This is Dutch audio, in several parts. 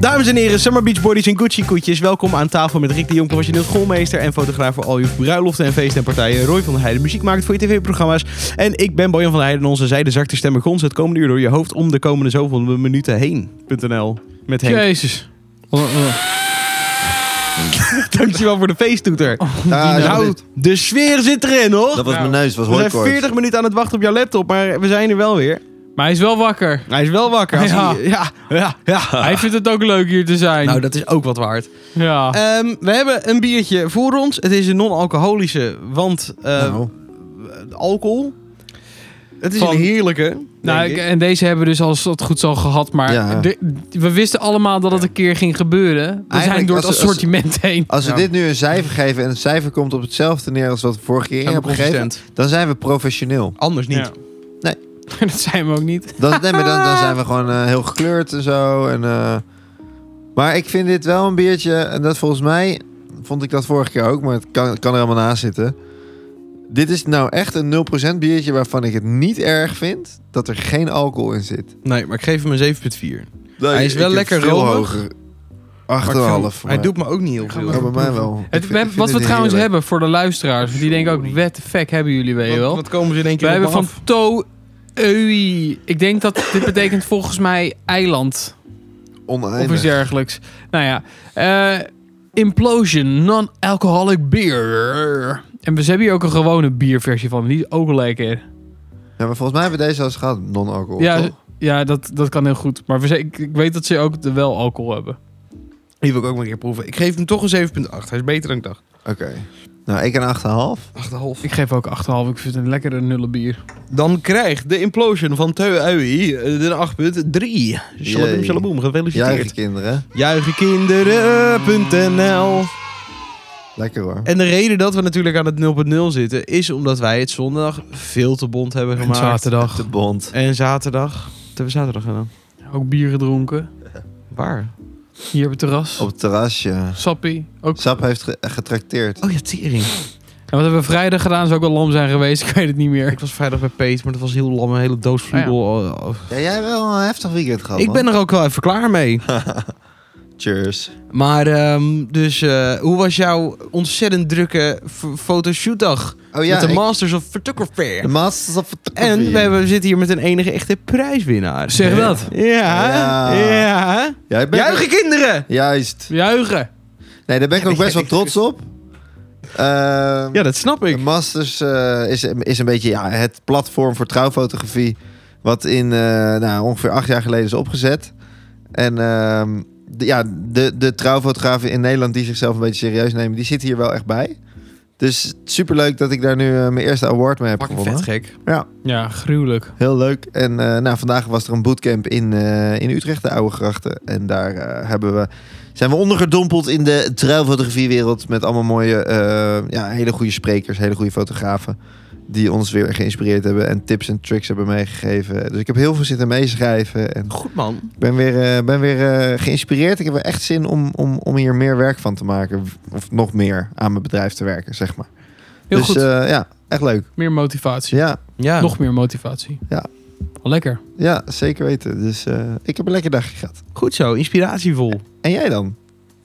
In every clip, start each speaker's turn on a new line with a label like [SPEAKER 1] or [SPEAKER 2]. [SPEAKER 1] Dames en heren, Summer Beach Boys en Gucci koetjes. Welkom aan tafel met Rick de Jong, professioneel schoolmeester en fotograaf voor al uw bruiloften en feesten en partijen. Roy van der Heijden, muziek maakt voor je tv-programma's. En ik ben Bojan van der Heijden, onze zijde zachte stemmen gons. Het komende uur door je hoofd om de komende zoveel minuten heen.nl met Henk.
[SPEAKER 2] Jezus. Wat een- wat een-
[SPEAKER 1] Dankjewel voor de feesttoeter.
[SPEAKER 3] Ah,
[SPEAKER 1] nou, de sfeer zit erin, hoor.
[SPEAKER 3] dat was mijn neus, was
[SPEAKER 1] we zijn
[SPEAKER 3] hooikoorts.
[SPEAKER 1] 40 minuten aan het wachten op jouw laptop, maar we zijn er wel weer.
[SPEAKER 2] Maar hij is wel wakker.
[SPEAKER 1] Hij is wel wakker. Als
[SPEAKER 2] Ja.
[SPEAKER 1] hij- ja, ja, ja.
[SPEAKER 2] Hij vindt het ook leuk hier te zijn.
[SPEAKER 1] Nou, dat is ook wat waard.
[SPEAKER 2] ja.
[SPEAKER 1] Ehm, we hebben een biertje voor ons. Het is een non-alcoholische, want eh,
[SPEAKER 3] Nou,
[SPEAKER 1] alcohol. Het is
[SPEAKER 2] Van-
[SPEAKER 1] een heerlijke.
[SPEAKER 2] nou,
[SPEAKER 1] denk
[SPEAKER 2] ik-
[SPEAKER 1] ik. eh,
[SPEAKER 2] en deze hebben we dus als dat goed zal gehad. Maar
[SPEAKER 3] Ja.
[SPEAKER 2] de- we wisten allemaal dat het een keer ging gebeuren. We zijn
[SPEAKER 3] Eigenlijk,
[SPEAKER 2] door het
[SPEAKER 3] als- als-
[SPEAKER 2] assortiment heen.
[SPEAKER 3] als we
[SPEAKER 1] Ja.
[SPEAKER 3] dit nu een cijfer geven en het cijfer komt op hetzelfde neer als wat we vorige keer
[SPEAKER 1] Zijn we
[SPEAKER 3] hebben gegeven,
[SPEAKER 1] consistent.
[SPEAKER 3] dan zijn we professioneel.
[SPEAKER 1] Anders niet.
[SPEAKER 2] Ja.
[SPEAKER 3] Nee.
[SPEAKER 2] dat zijn we ook niet.
[SPEAKER 3] Dan, nee, maar dan, dan zijn we gewoon eh, heel gekleurd en zo. En, eh, maar ik vind dit wel een biertje, en dat volgens mij vond ik dat vorige keer ook, maar het kan, het kan er helemaal naast zitten. Dit is nou echt een 0% biertje waarvan ik het niet erg vind dat er geen alcohol in zit.
[SPEAKER 1] Nee, maar ik geef hem een 7,4. Hij is
[SPEAKER 3] Ik
[SPEAKER 1] wel
[SPEAKER 3] heb
[SPEAKER 1] lekker
[SPEAKER 3] veel
[SPEAKER 1] romig.
[SPEAKER 3] hoger. 8,5. voor
[SPEAKER 1] Hij
[SPEAKER 3] mij.
[SPEAKER 1] doet me ook niet heel veel.
[SPEAKER 3] Ja, bij mij wel. Ik
[SPEAKER 2] Het,
[SPEAKER 3] vind-
[SPEAKER 2] we-
[SPEAKER 3] ik vind
[SPEAKER 2] wat we
[SPEAKER 3] dit
[SPEAKER 2] trouwens
[SPEAKER 3] heerlijk.
[SPEAKER 2] hebben voor de luisteraars. want Die denken ook, what the fuck hebben jullie, weet je
[SPEAKER 1] wat,
[SPEAKER 2] wel.
[SPEAKER 1] wat komen ze in één keer
[SPEAKER 2] We hebben
[SPEAKER 1] op
[SPEAKER 2] van
[SPEAKER 1] af?
[SPEAKER 2] To... Ui. Ik denk dat dit betekent volgens mij eiland. Of iets
[SPEAKER 3] Oneindig.
[SPEAKER 2] dergelijks. Nou ja. eh, implosion Non-Alcoholic Beer. En we hebben hier ook een gewone bierversie van. Die is ook lekker.
[SPEAKER 3] Ja, maar volgens mij hebben we deze al eens gehad, non-alcohol.
[SPEAKER 2] Ja,
[SPEAKER 3] toch?
[SPEAKER 2] ja dat, dat kan heel goed. Maar we ze- ik, ik weet dat ze ook de wel alcohol hebben.
[SPEAKER 1] Die wil ik ook maar een keer proeven. Ik geef hem toch een 7,8. Hij is beter dan ik dacht.
[SPEAKER 3] Oké. Nou, ik een 8,5.
[SPEAKER 1] 8,5.
[SPEAKER 2] Ik geef ook 8,5. Ik vind het een lekkere nulle bier.
[SPEAKER 1] Dan krijgt de implosion van Teu Ui de 8,3. Shalabim,
[SPEAKER 3] Jee.
[SPEAKER 1] shalaboom.
[SPEAKER 3] Juichen
[SPEAKER 1] Gefeliciteerd.
[SPEAKER 3] kinderen.
[SPEAKER 1] Juichenkinderen.nl
[SPEAKER 3] Lekker hoor.
[SPEAKER 1] En de reden dat we natuurlijk aan het 0.0 zitten... is omdat wij het zondag veel te bond hebben
[SPEAKER 2] En
[SPEAKER 1] gemaakt.
[SPEAKER 2] zaterdag
[SPEAKER 3] De bond.
[SPEAKER 1] En zaterdag. Wat hebben we zaterdag gedaan?
[SPEAKER 2] ook bier gedronken.
[SPEAKER 1] Waar?
[SPEAKER 2] Hier op het terras.
[SPEAKER 3] Op het terrasje.
[SPEAKER 2] Sappie. Ook.
[SPEAKER 3] Sap heeft ge- getrakteerd.
[SPEAKER 1] Oh ja, tering.
[SPEAKER 2] En wat hebben we vrijdag gedaan? Zou ook wel lam zijn geweest. Ik weet het niet meer.
[SPEAKER 1] Ik was vrijdag bij Peet, maar dat was heel lam. Een hele doos vloedel. Oh, oh.
[SPEAKER 3] Ja, jij hebt wel een heftig weekend gehad.
[SPEAKER 1] Ik
[SPEAKER 3] man.
[SPEAKER 1] ben er ook wel even klaar mee.
[SPEAKER 3] Cheers.
[SPEAKER 1] Maar, ehm, dus, eh, hoe was jouw ontzettend drukke f- fotoshootdag?
[SPEAKER 3] Oh ja,
[SPEAKER 1] met de
[SPEAKER 3] ik-
[SPEAKER 1] Masters of
[SPEAKER 3] de
[SPEAKER 1] Photography.
[SPEAKER 3] Masters of Photography.
[SPEAKER 1] En we, hebben, we zitten hier met een enige echte prijswinnaar. Eh,
[SPEAKER 2] Zeg dat.
[SPEAKER 1] Ja.
[SPEAKER 3] Ja.
[SPEAKER 1] Ja.
[SPEAKER 3] Ja, ik ben
[SPEAKER 1] Juichen kinderen!
[SPEAKER 3] Juist.
[SPEAKER 2] Juichen.
[SPEAKER 3] Nee, daar ben ik ook best wel trots op. Ehm,
[SPEAKER 1] Ja, dat snap
[SPEAKER 3] De
[SPEAKER 1] ik.
[SPEAKER 3] Masters eh, is, is een beetje ja, het platform voor trouwfotografie. Wat in eh, nou, ongeveer acht jaar geleden is opgezet. En ehm, de, ja, de, de trouwfotografen in Nederland die zichzelf een beetje serieus nemen, die zitten hier wel echt bij. Dus superleuk dat ik daar nu eh, mijn eerste award mee heb
[SPEAKER 1] Fucking
[SPEAKER 3] gewonnen.
[SPEAKER 1] vet gek.
[SPEAKER 2] Ja, gruwelijk.
[SPEAKER 3] Heel leuk. En eh, nou, vandaag was er een bootcamp in, eh, in Utrecht, de Oude Grachten. En daar eh, hebben we, zijn we ondergedompeld in de trouwfotografiewereld. Met allemaal mooie, eh, ja, hele goede sprekers, hele goede fotografen. Die ons weer geïnspireerd hebben en tips en tricks hebben meegegeven. Dus ik heb heel veel zitten meeschrijven. En
[SPEAKER 1] Goed man.
[SPEAKER 3] ik ben weer, eh, ben weer eh, geïnspireerd. Ik heb er echt zin om, om, om hier meer werk van te maken. Of nog meer aan mijn bedrijf te werken, zeg maar.
[SPEAKER 2] Heel
[SPEAKER 3] dus
[SPEAKER 2] goed.
[SPEAKER 3] eh, ja, echt leuk. Dus
[SPEAKER 2] meer motivatie.
[SPEAKER 3] Ja.
[SPEAKER 1] Ja.
[SPEAKER 2] Nog meer motivatie.
[SPEAKER 3] Ja.
[SPEAKER 2] Al lekker.
[SPEAKER 3] Ja, zeker weten. Dus eh, ik heb een lekker dagje gehad.
[SPEAKER 1] Goed zo, inspiratievol.
[SPEAKER 3] En jij dan?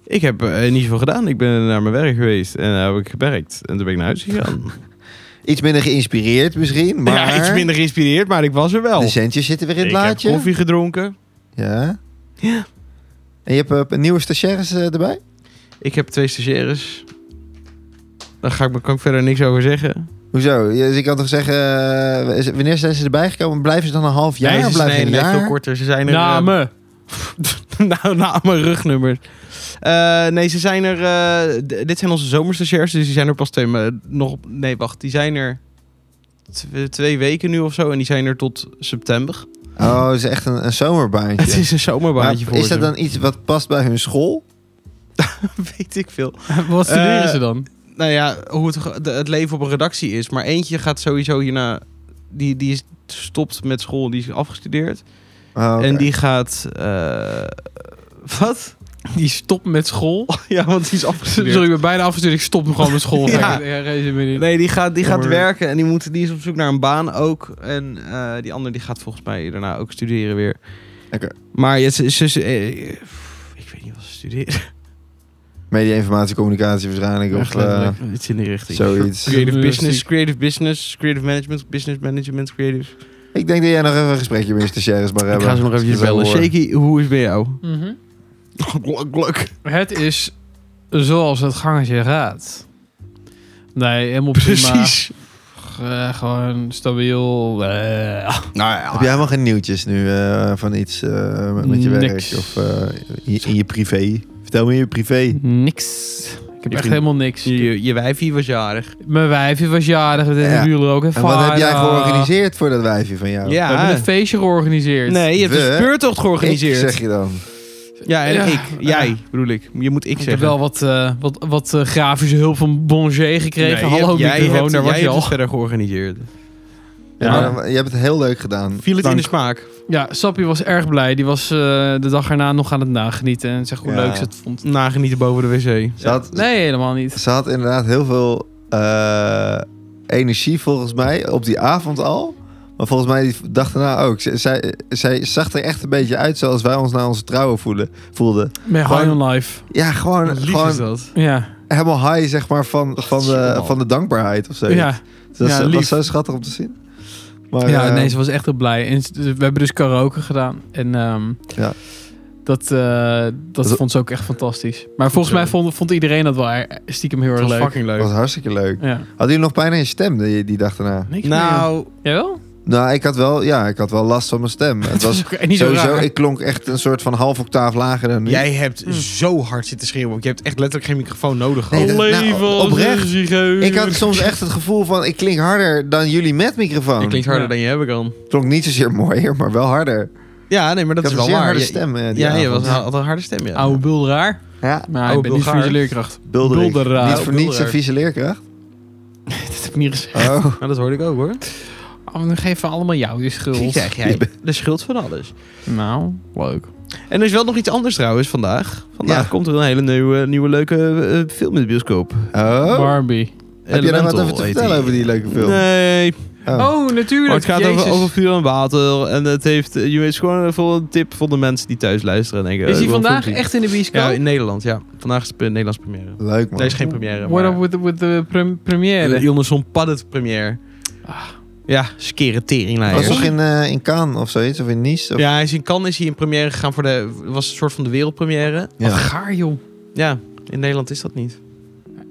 [SPEAKER 1] Ik heb eh, niet zoveel gedaan. Ik ben naar mijn werk geweest en daar heb ik gewerkt. En toen ben ik naar huis gegaan.
[SPEAKER 3] Iets minder geïnspireerd misschien, maar...
[SPEAKER 1] Ja, iets minder geïnspireerd, maar Dus ik was er wel.
[SPEAKER 3] De centjes zitten weer in het
[SPEAKER 1] ik heb
[SPEAKER 3] laadje.
[SPEAKER 1] koffie gedronken.
[SPEAKER 3] Ja.
[SPEAKER 1] Ja.
[SPEAKER 3] En je hebt eh, een nieuwe stagiaires eh, erbij?
[SPEAKER 1] Ik heb twee stagiaires. Daar ga ik, kan ik verder niks over zeggen.
[SPEAKER 3] Hoezo? Je, dus ik kan toch zeggen, eh, is- wanneer zijn ze erbij gekomen? Blijven ze dan een half jaar?
[SPEAKER 1] nee, ze
[SPEAKER 3] blijven
[SPEAKER 1] nee,
[SPEAKER 3] een
[SPEAKER 1] nee,
[SPEAKER 3] jaar?
[SPEAKER 1] veel korter. Ze zijn er... eh,
[SPEAKER 2] Namen.
[SPEAKER 1] nou, na mijn rugnummer. Eh, nee, ze zijn er... eh, d- dit zijn onze zomerstagiairs, dus die zijn er pas twee... ma- nog, nee, wacht. Die zijn er tw- twee weken nu of zo. En die zijn er tot september.
[SPEAKER 3] Oh, het is echt een, een zomerbaantje.
[SPEAKER 1] Het is een zomerbaantje
[SPEAKER 3] Maar
[SPEAKER 1] voor
[SPEAKER 3] Is dat
[SPEAKER 1] ze.
[SPEAKER 3] dan iets wat past bij hun school?
[SPEAKER 1] Weet ik veel.
[SPEAKER 2] Wat studeren
[SPEAKER 1] Eh,
[SPEAKER 2] ze dan?
[SPEAKER 1] nou ja, hoe het, ge- de- het leven op een redactie is. Maar eentje gaat sowieso hierna. Die, die is stopt met school, die is afgestudeerd.
[SPEAKER 3] Oh, oké.
[SPEAKER 1] En die gaat. eh, wat?
[SPEAKER 2] Die stopt met school.
[SPEAKER 1] ja, want die is
[SPEAKER 2] Sorry,
[SPEAKER 1] afgestudeerd.
[SPEAKER 2] ik ben bijna afgestuurd. Ik stop me gewoon met school.
[SPEAKER 1] Ja.
[SPEAKER 2] ja. Nee,
[SPEAKER 1] Nee, die gaat, die gaat
[SPEAKER 2] Maar-
[SPEAKER 1] werken en die, moet, die is op zoek naar een baan ook. En eh, die andere die gaat volgens mij daarna ook studeren weer.
[SPEAKER 3] Oké.
[SPEAKER 1] Maar ja, ze, ze- ze- eh, Ik weet niet wat ze studeren.
[SPEAKER 3] Media, informatie, communicatie waarschijnlijk. Of
[SPEAKER 1] Echt
[SPEAKER 3] eh,
[SPEAKER 1] letterlijk, Iets in die richting.
[SPEAKER 3] zoiets.
[SPEAKER 1] Creative
[SPEAKER 2] Journalistiek.
[SPEAKER 1] business, creative business, creative management, business management, creative.
[SPEAKER 3] Ik denk dat jij nog even een gesprekje met je stagiaires mag hebben.
[SPEAKER 1] Ik ga ze nog
[SPEAKER 3] Als
[SPEAKER 1] even
[SPEAKER 3] je zo
[SPEAKER 1] bellen.
[SPEAKER 3] hoort.
[SPEAKER 1] Shaky, hoe is het bij jou? Gluk,
[SPEAKER 2] Het is zoals het gangetje raadt. Nee, helemaal prima.
[SPEAKER 1] Precies.
[SPEAKER 2] Eh, gewoon stabiel. Eh,
[SPEAKER 1] Nou ja.
[SPEAKER 3] Heb jij helemaal geen nieuwtjes nu eh, van iets eh, met, met je werk?
[SPEAKER 2] Niks.
[SPEAKER 3] Of eh, in, in je privé? Vertel me in je privé.
[SPEAKER 2] niks. Ik heb
[SPEAKER 1] Je
[SPEAKER 2] echt
[SPEAKER 1] vriend-
[SPEAKER 2] helemaal niks.
[SPEAKER 1] Je, je wijfie was jarig.
[SPEAKER 2] Mijn wijfje was jarig. We deden
[SPEAKER 3] Ja.
[SPEAKER 2] de buren ook even
[SPEAKER 3] En wat heb jij
[SPEAKER 2] varen.
[SPEAKER 3] georganiseerd voor dat wijfje van jou?
[SPEAKER 2] We hebben een feestje georganiseerd.
[SPEAKER 1] Nee, je hebt
[SPEAKER 3] We-
[SPEAKER 1] een speurtocht
[SPEAKER 3] Ik,
[SPEAKER 1] georganiseerd.
[SPEAKER 3] zeg je dan.
[SPEAKER 1] Ja, en
[SPEAKER 2] Ja.
[SPEAKER 1] ik. Jij, bedoel ik. Je moet ik
[SPEAKER 2] Ik heb
[SPEAKER 1] zeggen.
[SPEAKER 2] wel wat, eh, wat, wat eh, grafische hulp van Bonger gekregen.
[SPEAKER 1] Nee,
[SPEAKER 2] Hallo
[SPEAKER 1] jij
[SPEAKER 2] microfoon,
[SPEAKER 1] hebt,
[SPEAKER 2] daar was
[SPEAKER 1] jij
[SPEAKER 2] je
[SPEAKER 1] hebt
[SPEAKER 2] al.
[SPEAKER 1] het verder georganiseerd.
[SPEAKER 3] Ja,
[SPEAKER 2] Ja.
[SPEAKER 3] maar dan- je hebt het heel leuk gedaan.
[SPEAKER 1] Viel het
[SPEAKER 2] Dank.
[SPEAKER 1] in de smaak?
[SPEAKER 2] Ja, Sappie was erg blij. Die was eh, de dag erna nog aan het nagenieten en zegt hoe
[SPEAKER 3] Ja.
[SPEAKER 2] leuk ze het vond.
[SPEAKER 1] Nagenieten boven de wc.
[SPEAKER 3] Ze had,
[SPEAKER 2] Nee, helemaal niet.
[SPEAKER 3] ze had inderdaad heel veel eh, energie volgens mij op die avond al. Maar volgens mij die dag daarna ook. Z- Zij, zij zag er echt een beetje uit zoals wij ons na onze trouwen voelden. voelden.
[SPEAKER 2] Met
[SPEAKER 3] Gewoon-
[SPEAKER 2] High on Life.
[SPEAKER 3] Ja, gewoon,
[SPEAKER 1] Lief is
[SPEAKER 3] gewoon
[SPEAKER 1] dat.
[SPEAKER 2] Ja,
[SPEAKER 3] helemaal high zeg maar van, van, de,
[SPEAKER 1] man.
[SPEAKER 3] van de dankbaarheid of zo.
[SPEAKER 2] ja.
[SPEAKER 3] Dat
[SPEAKER 2] Ja,
[SPEAKER 3] was,
[SPEAKER 2] lief.
[SPEAKER 3] was zo schattig om te zien. Maar,
[SPEAKER 2] ja
[SPEAKER 3] eh,
[SPEAKER 2] nee, ze was echt heel blij. En ze- we hebben dus karaoke gedaan. En ehm,
[SPEAKER 3] Ja.
[SPEAKER 2] dat, eh, dat
[SPEAKER 3] Dat-
[SPEAKER 2] vond ze ook echt fantastisch. Maar volgens mij vond, vond iedereen dat wel eh, stiekem heel
[SPEAKER 1] Dat
[SPEAKER 2] erg
[SPEAKER 1] was
[SPEAKER 2] leuk.
[SPEAKER 1] fucking
[SPEAKER 3] dat
[SPEAKER 1] leuk.
[SPEAKER 3] was hartstikke leuk.
[SPEAKER 2] Ja.
[SPEAKER 3] Had jullie nog pijn aan je stem die, die dag daarna?
[SPEAKER 2] Niks meer.
[SPEAKER 1] Nou,
[SPEAKER 2] Jawel?
[SPEAKER 3] Nou, ik had wel, ja, ik had wel last van mijn stem. Het was
[SPEAKER 2] Dat is ook niet zo
[SPEAKER 3] sowieso,
[SPEAKER 2] raar.
[SPEAKER 3] ik klonk echt een soort van half octaaf lager dan nu.
[SPEAKER 1] jij hebt
[SPEAKER 2] Hm.
[SPEAKER 1] zo hard zitten schreeuwen. want Je hebt echt letterlijk geen microfoon nodig
[SPEAKER 3] Hmm. Nee,
[SPEAKER 1] gehad.
[SPEAKER 3] dat- nou, oprecht. Ik
[SPEAKER 2] zo
[SPEAKER 3] had soms echt het gevoel van, ik klink harder dan jullie met microfoon.
[SPEAKER 1] Je klinkt harder
[SPEAKER 2] Ja.
[SPEAKER 1] dan je hebben kan.
[SPEAKER 3] Klonk niet zozeer mooier, maar wel harder.
[SPEAKER 1] Ja, nee, maar dat
[SPEAKER 3] ik
[SPEAKER 1] is wel
[SPEAKER 3] had een zeer
[SPEAKER 1] waar.
[SPEAKER 3] harde
[SPEAKER 1] Je-
[SPEAKER 3] stem eh, die
[SPEAKER 1] Ja, je
[SPEAKER 3] avond.
[SPEAKER 1] was, had een harde stem, ja.
[SPEAKER 2] Oude bul raar.
[SPEAKER 3] Ja,
[SPEAKER 2] Maar
[SPEAKER 1] Oude
[SPEAKER 2] ik ben niet voor
[SPEAKER 1] Bulgaar.
[SPEAKER 2] je leerkracht.
[SPEAKER 3] bulderig.
[SPEAKER 2] Bulderig.
[SPEAKER 3] Niet voor niets een
[SPEAKER 1] Bulderig.
[SPEAKER 3] vieze leerkracht.
[SPEAKER 2] dat heb ik niet gezegd.
[SPEAKER 3] Oh,
[SPEAKER 1] Maar dat hoorde ik ook, hoor.
[SPEAKER 2] Oh, dan geven we allemaal jou je
[SPEAKER 1] Die
[SPEAKER 2] schuld.
[SPEAKER 1] krijg jij de schuld van alles.
[SPEAKER 2] Nou, leuk.
[SPEAKER 1] En er is wel nog iets anders trouwens vandaag. Vandaag
[SPEAKER 3] Ja.
[SPEAKER 1] komt er een hele nieuwe, nieuwe leuke eh, film in de bioscoop.
[SPEAKER 3] oh.
[SPEAKER 2] Barbie.
[SPEAKER 3] Heb je daar wat
[SPEAKER 1] Elemental
[SPEAKER 3] over te
[SPEAKER 1] heet
[SPEAKER 3] vertellen over die leuke film?
[SPEAKER 1] Nee,
[SPEAKER 3] Oh.
[SPEAKER 2] Oh, natuurlijk.
[SPEAKER 1] maar het gaat over,
[SPEAKER 2] Jezus.
[SPEAKER 1] over vuur en water. En het heeft, eh, je weet, het is gewoon een volle tip voor de mensen die thuis luisteren. En denken,
[SPEAKER 2] Is
[SPEAKER 1] eh,
[SPEAKER 2] hij
[SPEAKER 1] wel een
[SPEAKER 2] vandaag
[SPEAKER 1] filmpje.
[SPEAKER 2] echt in de
[SPEAKER 1] Ja,
[SPEAKER 2] bioscoop?
[SPEAKER 1] in Nederland, ja. Vandaag is de pre- Nederlands première.
[SPEAKER 3] Leuk man.
[SPEAKER 1] Nee, is geen première,
[SPEAKER 2] What up
[SPEAKER 1] maar...
[SPEAKER 2] with the, with the prem- première?
[SPEAKER 1] eh, Jonathan Paddet première.
[SPEAKER 2] Ah.
[SPEAKER 1] Ja, skere
[SPEAKER 3] Dat was
[SPEAKER 1] teringleier.
[SPEAKER 3] toch in, eh, in Cannes of zoiets? Of in Nice? Of...
[SPEAKER 1] Ja, hij is in Cannes is hij in première gegaan voor de... was een soort van de wereldpremière.
[SPEAKER 3] Ja.
[SPEAKER 2] Wat gaar, joh.
[SPEAKER 1] Ja, in Nederland is dat niet.